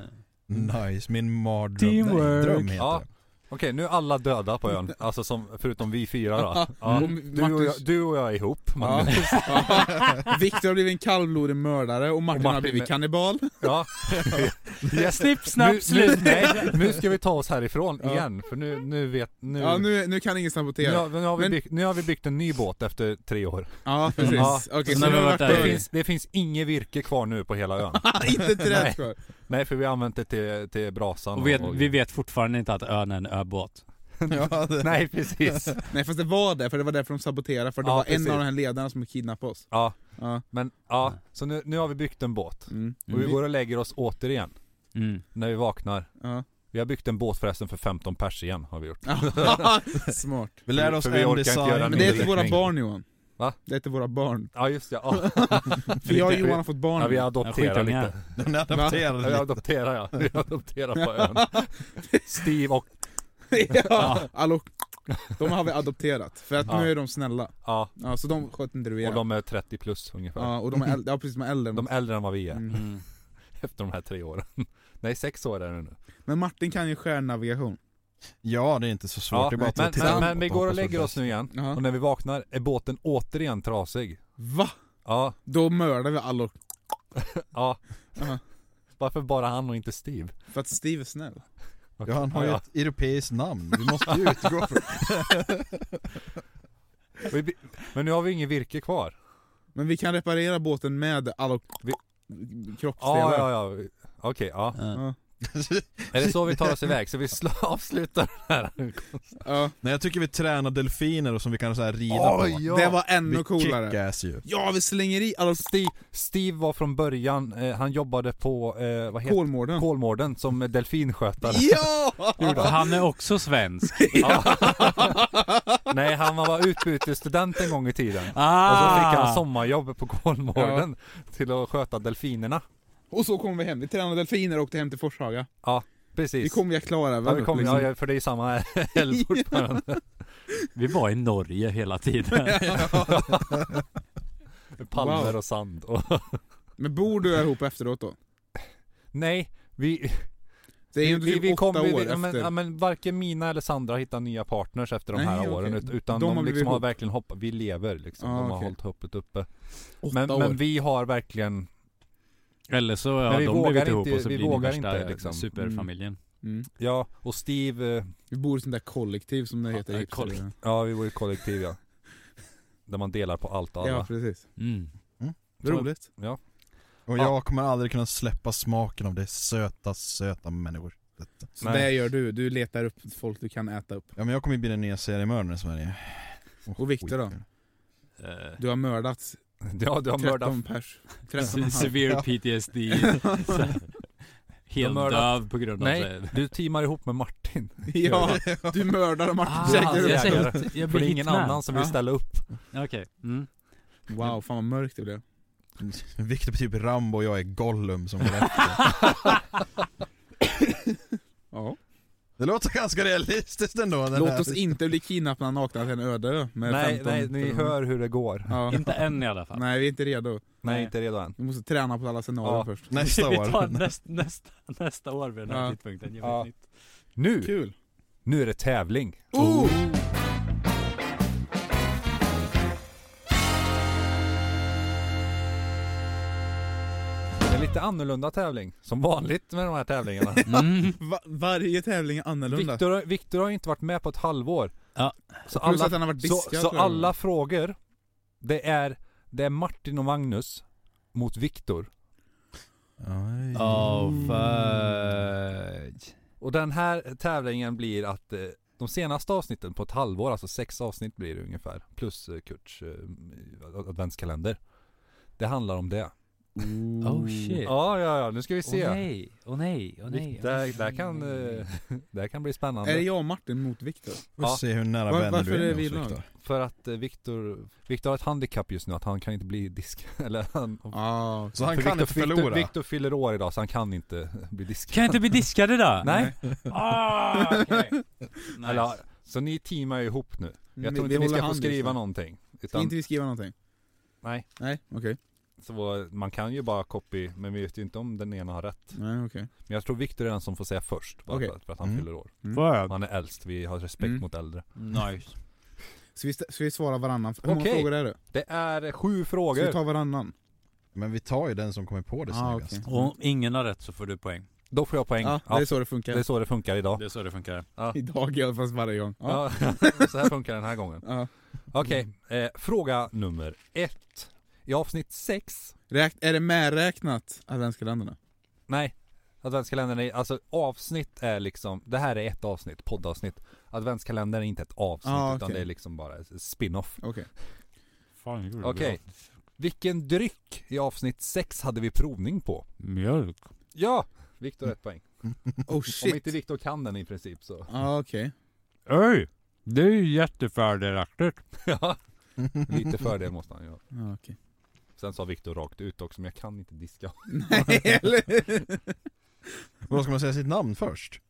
Nice, min mardröm. Nej,
Teamwork.
dröm heter
Ja.
det.
Okej, nu är alla döda på ön. Alltså som, förutom vi fyra då. Ja.
Och
Du, och
Martin-
jag, du och jag är ihop.
Mm, Ja.
Magnus.
Ja. Viktor har blivit en kallblodig mördare och Martin,
Och Martin
har blivit
är-
kannibal.
Ja. Yes.
Snipp,
Nu,
snapp,
nu,
slut!
nej, nu ska vi ta oss härifrån
Ja.
igen, för nu, nu vet... Nu,
Ja, nu, nu kan ingen
nu,
sabotera. Ja,
har, nu, har vi
Men-
byggt, nu har vi byggt en ny båt efter tre år.
precis.
Ja.
Okej, så
Så när
nu
vi
har
varit
varit
Det
där Oj.
finns, det finns inget virke kvar nu på hela ön.
Inte
Nej.
träd kvar.
Nej, för vi har använt det till, till brasan.
Och vet, vi vet fortfarande inte att ön är en öbåt
Ja, det-
Nej, precis.
Nej fast det var det, för det var därför de saboterade, för det
Ja,
var
precis.
en av de här ledarna som kidnappade oss.
Ja,
Ja.
men ja, så nu, nu har vi byggt en båt.
Mm.
Och vi går och lägger oss återigen,
mm.
när vi vaknar.
Ja.
Vi har byggt en båt förresten för 15 pers igen, har vi gjort.
Smart.
Vi lärde oss
För vi
en
orkar inte
design.
göra
Men det är till
Underteckning.
våra barn Johan.
Va?
Det är till våra barn.
Ja, just det. Ja,
För jag och Johan har fått barn.
ja vi
Ja,
adopterar
skitungar.
lite.
Den adapterade
Ja, vi
lite.
adopterar ja. Vi adopterar på ön. Steve och...
ja. Hallå. De har vi adopterat, för att
Ja.
nu är de snälla.
Ja,
Ja, så de sköt inte du
och
ihjäl.
de är 30 plus ungefär.
Ja, och de är äldre, ja precis, de är äldre. än
De
oss.
är äldre än vad vi är
Mm.
Mm.
efter de här tre åren. Nej, sex år är det nu.
Men Martin kan ju stjärnnavigation.
Ja, det är inte så svårt.
Ja,
det är bara
men,
att
men,
titta
men,
uppåt
vi
och
går och
hoppas på
lägger
det
oss nu igen.
Jaha.
Och när vi vaknar är båten återigen trasig.
Va?
Ja,
Då mördar vi alla och-
ja.
Jaha.
Varför bara han och inte Steve?
för att Steve är snäll.
Ja, han har ju
Ja,
ett europeiskt namn. Vi måste ju utgå från
ja. Vi by- Men nu har vi ingen virke kvar.
Men vi kan reparera båten med alla och-
Vi- Ja,
kroppsdelar.
ja, ja. Okej, ja.
Ja.
Är det så vi tar oss iväg? Så vi sl- avslutar den här?
Ja.
Nej jag tycker vi tränar delfiner och som vi kan så här rida på.
ja.
Det var ännu
Vi
coolare.
kickass ju.
Ja, vi slänger i alla
Steve, Steve var från början, eh, han jobbade på, eh, vad heter
Kolmården.
Kolmården som delfinskötare.
Ja!
Han är också svensk
Ja. Nej, han var utbytesstudent en gång i tiden.
ah.
Och så fick han sommarjobb på Kolmården till att sköta delfinerna.
Och så kom vi hem. Vi tränade delfiner och åkte hem till Forshaga.
Precis.
Vi kom via
ja, vi
Klarälven.
kom,
liksom.
ja, för det är ju samma älv fortfarande.
Vi var i Norge hela tiden
Palmer
Wow.
och sand och...
Men bor du ihop efteråt då?
Nej, vi...
Det är ju
vi,
typ
vi
åtta
vi-
år
ja, men,
efter.
ja, men varken Mina eller Sandra hittar nya partners efter de
Nej,
här
okej.
åren. ut- Utan
De
de,
har blivit
liksom har
ihop.
verkligen hoppat, vi lever liksom.
Ah,
de har
okej.
hållit hoppet uppe.
åtta
Men,
år.
men vi har verkligen
Eller så
Men
har
vi
de
vågar
blivit ihop
inte-
och så
vi
blir det
vågar
värsta
inte, liksom.
superfamiljen
mm.
Ja, och Steve, eh,
vi bor i sånt där kollektiv som det
Ja,
heter.
det är
i Hipster.
kollektiv.
ja vi var ju kollektiv ja. Där man delar på allt och alla.
Ja, precis.
mm.
Roligt.
Ja.
Och jag kommer aldrig kunna släppa smaken av det söta, söta människor.
Så
Nej.
det gör du. Du letar upp folk du kan äta upp.
Ja men jag kommer ju bli den nya seriemördaren i Sverige. Åh,
Och Viktor då?
skit.
Eh,
Du har mördat
Ja, du har mördat
13 pers. 13
se- Severe PTSD Så- Helt
De mördat-
döv på grund av
Nej,
sig.
du teamar ihop med Martin.
Ja, du mördar Martin
Ah,
Källström.
jag, säger-
För
jag
För
blir
det är ingen
hitman.
annan som vill
Ja.
ställa upp.
Okej, mm.
Wow, fan vad mörkt det blev.
Viktor är typ Rambo och jag är Gollum som går efter.
Ja.
Det låter ganska realistiskt ändå. Den
Låt
här.
oss inte bli kidnappade och nakna till en öde ö med
Nej,
15
nej, ni
personer.
hör hur det går.
Ja.
inte än i alla fall
Nej, vi är inte redo.
Nej,
Nej.
inte redo än.
Vi måste träna på alla scenarier
Ja.
först.
Nästa
Vi
år.
tar näst, nästa, nästa år vid den här
Ja.
tidpunkten, gör vi
Ja.
ett nytt.
Nu,
Kul!
nu är det tävling.
Oh!
En lite annorlunda tävling, som vanligt med de här tävlingarna.
Mm.
Va- varje tävling är annorlunda.
Viktor, Viktor har ju inte varit med på ett halvår. Så
Plus
alla,
att han har varit
så,
diskad.
så
tror jag.
alla frågor, det är, det är Martin och Magnus mot Viktor.
Oh fudge.
Och den här tävlingen blir att eh, de senaste avsnitten på ett halvår, alltså sex avsnitt blir det ungefär, plus eh, Kurts eh, adventskalender. Det handlar om det.
Oh shit.
Ja, ja, ja, nu ska vi se.
Åh nej, åh nej, åh nej.
Där, där, kan, eh, där kan bli spännande.
Är det jag och Martin mot Viktor?
Vi får
Ja.
se hur nära
Var-
vänner
varför
du
är
är
vi
med
lag?
oss Viktor.
För att eh, Viktor, Viktor har ett handikapp just nu, att han kan inte bli disk... Eller han,
Ja.
Så han
för
kan
Viktor-
inte förlora.
Viktor, Viktor fyller år idag så han kan inte eh, bli diskad.
Kan jag inte bli diskad idag?
Nej,
Ah, okej.
eller,
nice.
så ni teamar ju ihop nu. Jag tror
Vi- vi
inte ni
håller
ska få
hand
skriva
liksom.
någonting.
Ska
Utan,
inte vi skriva någonting?
Nej,
Nej, okej.
så man kan ju bara copy, men vi vet ju inte om den ena har rätt.
Nej, okej.
Men jag tror Viktor är den som får säga först, bara
Okej.
för, att- för att han
Mm.
fyller år.
Verb.
Han är äldst, vi har respekt
Mm.
mot äldre.
Nice.
Ska, vi, st- ska vi svara varannan? Hur många
Okej.
frågor är det?
Det är sju
Ska vi
frågor.
ta varannan?
Men vi tar ju den som kommer på det
Ah,
snyggast.
okej.
Och om ingen har rätt så får du poäng.
Då får jag poäng.
Ja,
Ja,
det är så det funkar.
det är så det funkar idag.
Det är så det funkar.
Idag gör fast varje gång. Ja.
Ja. så här funkar den här gången.
Ja.
Okej, eh, fråga nummer ett. I avsnitt sex,
Räk- är det medräknat adventskalendrarna?
nej, adventskalendern är, alltså avsnitt är liksom, det här är ett avsnitt, poddavsnitt. Adventskalendern är inte ett avsnitt
Ah,
utan
okej.
det är liksom bara en spin-off.
Okej.
Fan,
Okej. Vilken dryck i avsnitt sex hade vi provning på?
Mjölk.
Ja! Viktor ett poäng.
Oh
Om
shit.
inte Viktor kan den i princip så.
Ja, okej.
Öj! Det är ju jättefördelaktigt.
ja, lite för det måste han ju ha.
Ja, okej.
Sen sa Viktor rakt ut också, men jag kan inte diska.
Nej, eller
Men då ska man säga sitt namn först?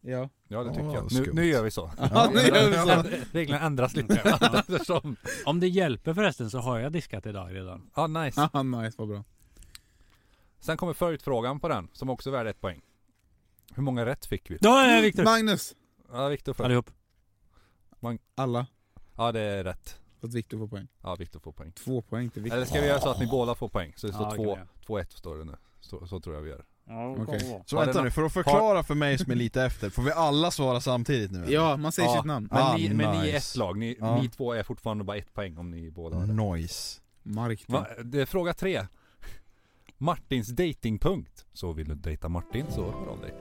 Ja.
Ja det tycker
Ah,
jag. Nu,
skumt.
nu gör vi så.
Ja, nu gör vi så.
Reglerna ändras lite eftersom.
Om det hjälper förresten så har jag diskat idag redan.
Ja, nice.
Ah, nice, vad bra.
Sen kommer förutfrågan på den, som också är värd ett poäng. Hur många rätt fick vi?
Då är det Viktor!
Magnus!
Ja, Viktor först.
Allihop.
Alla.
Ja, det är rätt.
Fast Viktor får poäng.
Ja, Viktor får poäng.
Två poäng till Viktor.
Eller ska vi göra så att ni båda får poäng? Så det
Ja,
står
det kan vi göra.
2-1 står det nu. Så, så tror jag vi gör.
Okej.
Så
Har
vänta
den-
nu, för att förklara för mig som är lite efter, får vi alla svara samtidigt nu? eller?
Ja, man säger
Ja.
sitt namn.
Men,
Ah,
ni, men ni är ett
nice.
lag, ni,
Ja.
ni två är fortfarande bara ett poäng om ni båda har det.
Noise.
Mark.
Va, det är fråga tre. Martins datingpunkt. Så vill du dejta Martin så hör av dig.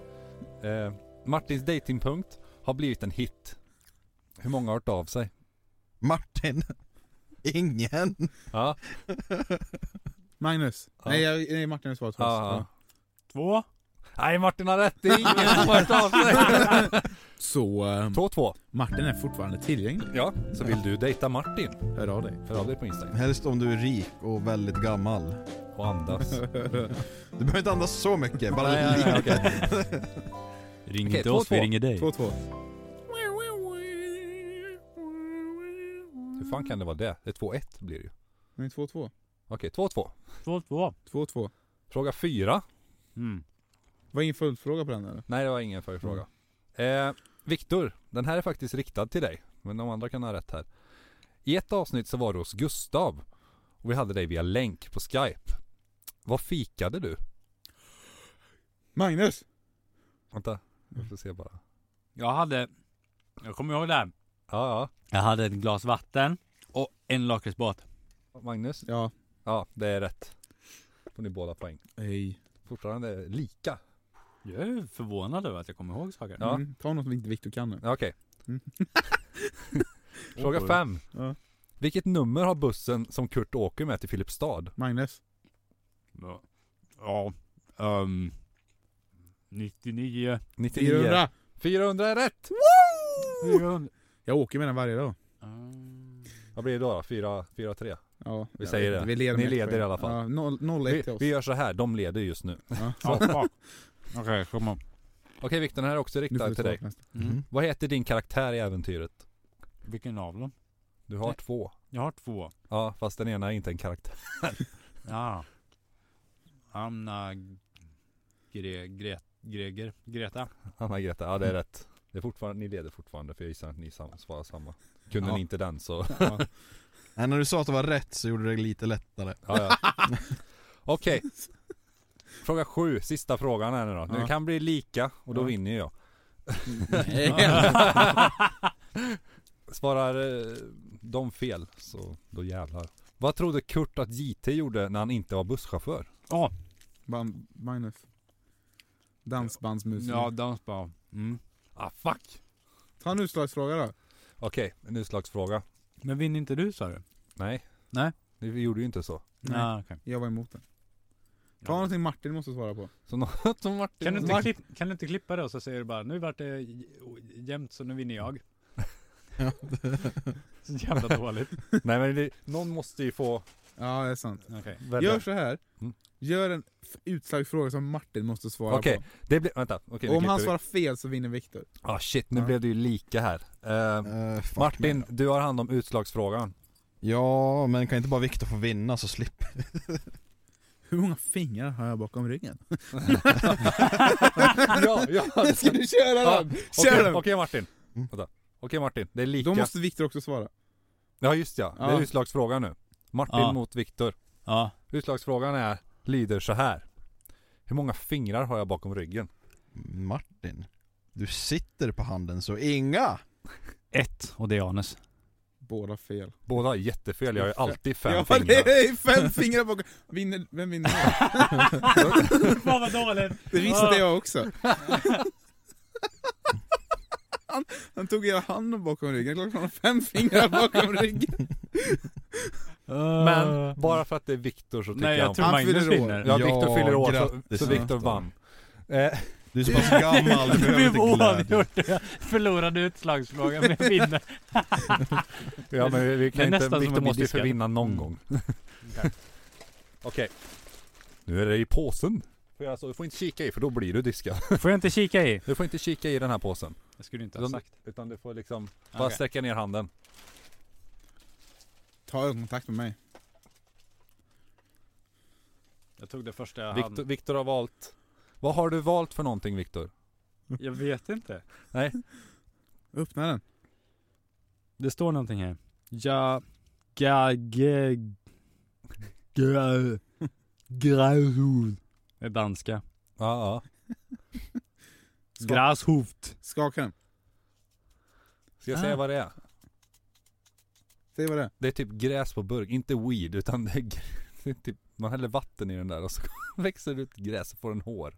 Eh, Martins datingpunkt har blivit en hit. Hur många har hört av sig?
Martin. Ingen.
Ja,
Magnus.
Ja.
Nej, jag, nej, Martin har svarat först.
ja, ja.
Ja.
Två.
Nej Martin har rätt, det är ingen som har hört av sig.
Så, ehm,
2-2.
Martin är fortfarande tillgänglig.
Ja, så vill du dejta Martin?
Hör av dig.
Hör av dig på Instagram
Helst om du är rik och väldigt gammal.
och andas.
Du behöver inte andas så mycket, bara
Nej, nej,
lite.
nej, okej.
Ring
Okej,
inte
två,
oss, vi
två.
ringer dig.
2-2.
Hur fan kan det vara det? Det är 2-1 blir det ju.
Nej, 2-2.
Okej, 2-2.
Två, två.
2-2.
Fråga 4.
Mm.
Var ingen följdfråga på den eller?
Nej det var ingen följdfråga.
Mm.
Eh, Viktor, den här är faktiskt riktad till dig. Men de andra kan ha rätt här. I ett avsnitt så var du hos Gustav. Och vi hade dig via länk på Skype. Vad fikade du?
Magnus!
Vänta, jag får se bara.
Jag hade... Jag kommer ihåg det här.
Ja,
Jag hade ett glas vatten och en lakritsbåt.
ja. Magnus?
Ja.
Ja, det är rätt. Får ni båda poäng.
Hej.
Fortfarande lika.
Jag är förvånad över att jag kommer ihåg saker.
Ja.
Mm, ta något som inte Viktor kan nu.
Ja, Okej.
Mm.
Fråga fem.
Ja.
Vilket nummer har bussen som Kurt åker med till Filipstad?
Magnus.
Ja. ja ehm, 99.
99.
400.
400 är rätt!
Jag åker med den varje dag.
Ehm,
Vad blir det då? då? 4, 4 3?
Ja,
Vi
jag
säger det.
vet inte. Vi leder
Ni
med ett
leder
poäng.
i alla fall.
Ja, noll- 0-1
Vi,
till oss.
vi gör så här, de leder just nu.
Ja.
ja, fuck. Okej, kom igen.
Okej Viktor, den här är också
Nu får
riktad
vi
till
svara
dig.
på nästa.
Mm.
Vad heter din karaktär i äventyret?
Vilken av dem?
Du har
Nej.
två.
Jag har två.
Ja, fast den ena är inte en karaktär.
Ja. Anna Gre, Gre, Greger, Greta.
Anna-Greta, ja
Mm.
det är rätt. Det är fortfarande, ni leder fortfarande för jag gissar att ni sam- svarar samma. Kunde
Ja.
ni inte den så...
Ja.
Nej, när du sa att det var rätt så gjorde det lite lättare.
Ja, ja. Okej. Fråga sju, sista frågan här nu då. Det
Ja.
kan bli lika och då
Ja.
vinner ju jag.
Nej.
Svarar eh, de fel, så då jävlar. Vad trodde Kurt att JT gjorde när han inte var busschaufför?
Band, Magnus. Dansbandsmusik.
Ja, dansband. Mm.
Ah, fuck!
Ta en utslagsfråga då.
Okej, en utslagsfråga.
Men vinner inte du sa du?
Nej.
Nej.
Vi gjorde ju inte så.
Nej.
Ah, okej.
Jag var emot den. Ta
Ja.
någonting Martin måste svara på.
Så något som Martin...
Kan du, inte
Martin-
klipp, kan du inte klippa det och så säger du bara nu vart det j- o- jämnt så nu vinner jag. så jävla dåligt.
Nej men det, någon måste ju få
Ja, det är sant.
Okej.
välja.
Gör så här.
Mm.
Gör en f- utslagsfråga som Martin måste svara
Okej,
på.
det blir... Vänta. Okej,
Och
nu
om
klipper
han
vi.
svarar fel så vinner Viktor.
Ah shit, nu
Ja.
blev det ju lika här. Eh,
Eh, fuck
Martin,
mig då.
du har hand om utslagsfrågan.
Ja, men kan inte bara Viktor få vinna så slipper
Hur många fingrar har jag bakom ryggen?
ja, ja.
Ska du köra
Ja,
den?
Okej
Kör den!
okej, Martin.
Mm.
Vänta. Okej Martin, det är lika.
Då måste Viktor också svara.
Ja just ja, det är
Ja.
utslagsfrågan nu. Martin
Ja.
mot Viktor.
Ja.
Utslagsfrågan är, lyder så här. Hur många fingrar har jag bakom ryggen?
Martin, du sitter på handen så inga!
Ett och det är Anes.
Båda fel.
Båda har jättefel, jag har ju alltid fem
ja,
fingrar.
det är fem fingrar bakom. Vinner, vem vinner?
Fan vad dåligt.
Det visste jag också. Han, han tog hela handen bakom ryggen, klart han har fem fingrar bakom ryggen.
Men bara för att det är Viktor så tycker
Nej
jag om
Eh, jag tror
Han
Magnus
fyller år.
vinner.
Ja,
Ja,
Viktor fyller år så,
grattis,
så Viktor
Viktor.
vann. Eh,
Du är så pass gammal, du
Det
behöver
blev
inte glädje.
oavgjort. Jag förlorade utslagsfrågan men jag vinner.
ja men vi- vi
Det är
kan inte,
nästan som
Viktor
att bli
måste ju
diskad.
förvinna någon
Mm.
gång. Okej. Nu är det i påsen. Får jag alltså- Du får inte kika i för då blir du diskad.
Får jag inte kika i?
Du får inte kika i den här påsen.
Jag skulle inte ha
Utan,
sagt.
utan du får liksom bara
Okej.
sträcka ner handen.
Ta ögonkontakt med mig.
Jag tog det första jag
Viktor,
hann.
Viktor har valt. Vad har du valt för någonting Viktor?
Jag vet inte.
Öppna den.
Det står någonting här. Ja, ga, ge, gra, grashov. Det är danska.
Ja, ja.
Skaka,
Grashovt.
skaka den.
Ska jag
Ah.
säga vad det är?
Säg vad det är.
Det är typ gräs på burk, inte weed utan det är, gr- det är typ, man häller vatten i den där och så växer det ut gräs och får en hår.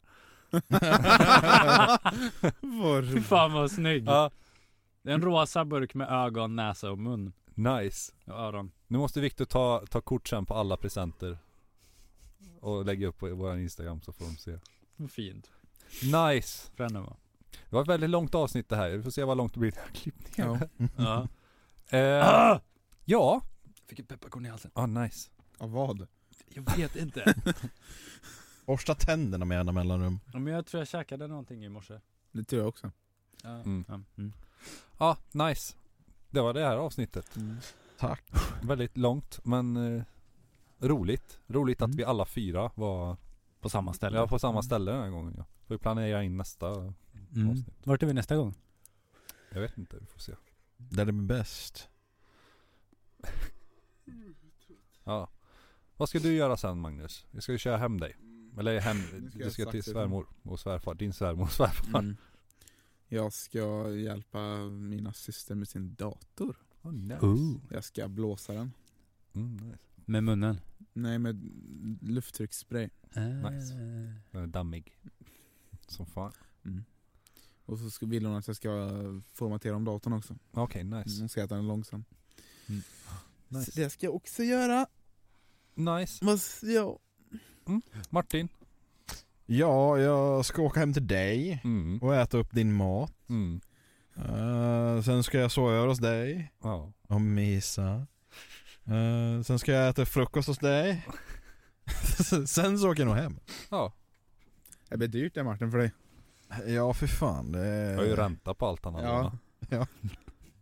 Fy fan vad snygg.
Ja,
Det är en rosa burk med ögon, näsa och mun.
nice.
Och öron.
Nu måste Viktor ta, ta kort sen på alla presenter. Och lägga upp på vår Instagram så får de se.
Fint.
Nice!
För henne va?
Det var ett väldigt långt avsnitt det här. Vi får se vad långt det blir när jag klippt ner.
Ja.
Ja.
Eh,
Ah!
ja,
Fick ett pepparkorn i halsen.
ah, nice.
Av vad?
Jag vet inte.
Borsta tänderna med jämna mellanrum.
Ja, Men jag tror jag käkade någonting i morse.
Det tror jag också.
Ja.
Mm.
Ja. Mm.
Ja, ah, nice. Det var det här avsnittet.
Tack.
Väldigt långt men eh, roligt. Roligt att
Mm.
vi alla fyra var
På samma ställe.
ja, på samma ställe den här gången. Ja. Får vi planera in nästa
Mm.
avsnitt.
Vart är vi nästa gång?
Jag vet inte, vi får se.
Där det är bäst.
Ja. Vad ska du göra sen Magnus? Jag ska ju köra hem dig. Eller hem,
Nu ska
du
jag
ska till
sakta-
svärmor och svärfar. Din svärmor och svärfar.
Mm. Jag ska hjälpa mina syster med sin dator.
Oh, nice.
Jag ska blåsa den.
Mm, nice.
Med munnen.
Nej, med lufttrycksspray.
Ah.
Nice. Den är dammig. Som fan.
Och så ska- vill hon att jag ska formatera om datorn också.
Okej, nice.
Hon säger att den är långsam.
Mm. Nice.
Så det ska jag också göra.
Mm.
Nice.
Vad s- ja.
Martin.
Ja, jag ska åka hem till dig
Mm.
och äta upp din mat.
Mm.
Eh, sen ska jag sova över hos dig
Ja.
och mysa. Eh, sen ska jag äta frukost hos dig. sen så åker jag nog hem.
Ja.
Det blir dyrt det Martin för dig.
Ja, för fan. Det
Jag har ju
är...
ränta på allt han har
Ja.
lånat.
Ja.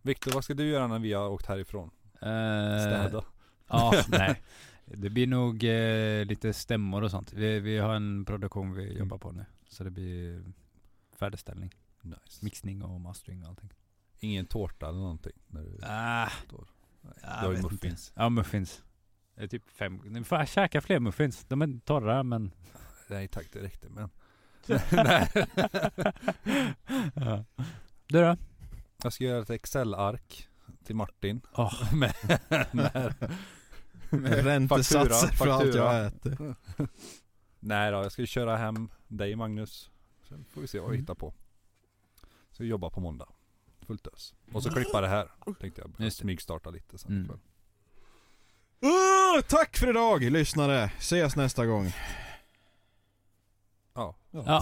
Viktor, vad ska du göra när vi har åkt härifrån?
Städa.
Städa.
Eh, Ja, nej. Det blir nog eh, lite stämmor och sånt. Vi, vi har en produktion vi jobbar på nu. Så det blir färdigställning,
Nice.
mixning och mastering och allting.
Ingen tårta eller någonting? När du... Nej,
Ah,
du
jag
har ju
vet
muffins.
ja, muffins. Det är typ fem. Ni får käka fler muffins. De är torra men...
Nej tack, det räckte men.
ja. Du då?
Jag ska göra ett Excel-ark till Martin.
Ja.
Men, när,
Räntesatser
Faktura,
för allt
faktura.
jag äter.
nej då, jag ska ju köra hem dig Magnus. Sen får vi se vad vi hittar på. Så vi jobbar på måndag. Fullt ös. Och så klippa det här. Tänkte jag
Just det.
smygstarta lite sen.
Mm.
Åh, Uh, tack för idag lyssnare! Ses nästa gång.
Ja.
Ja.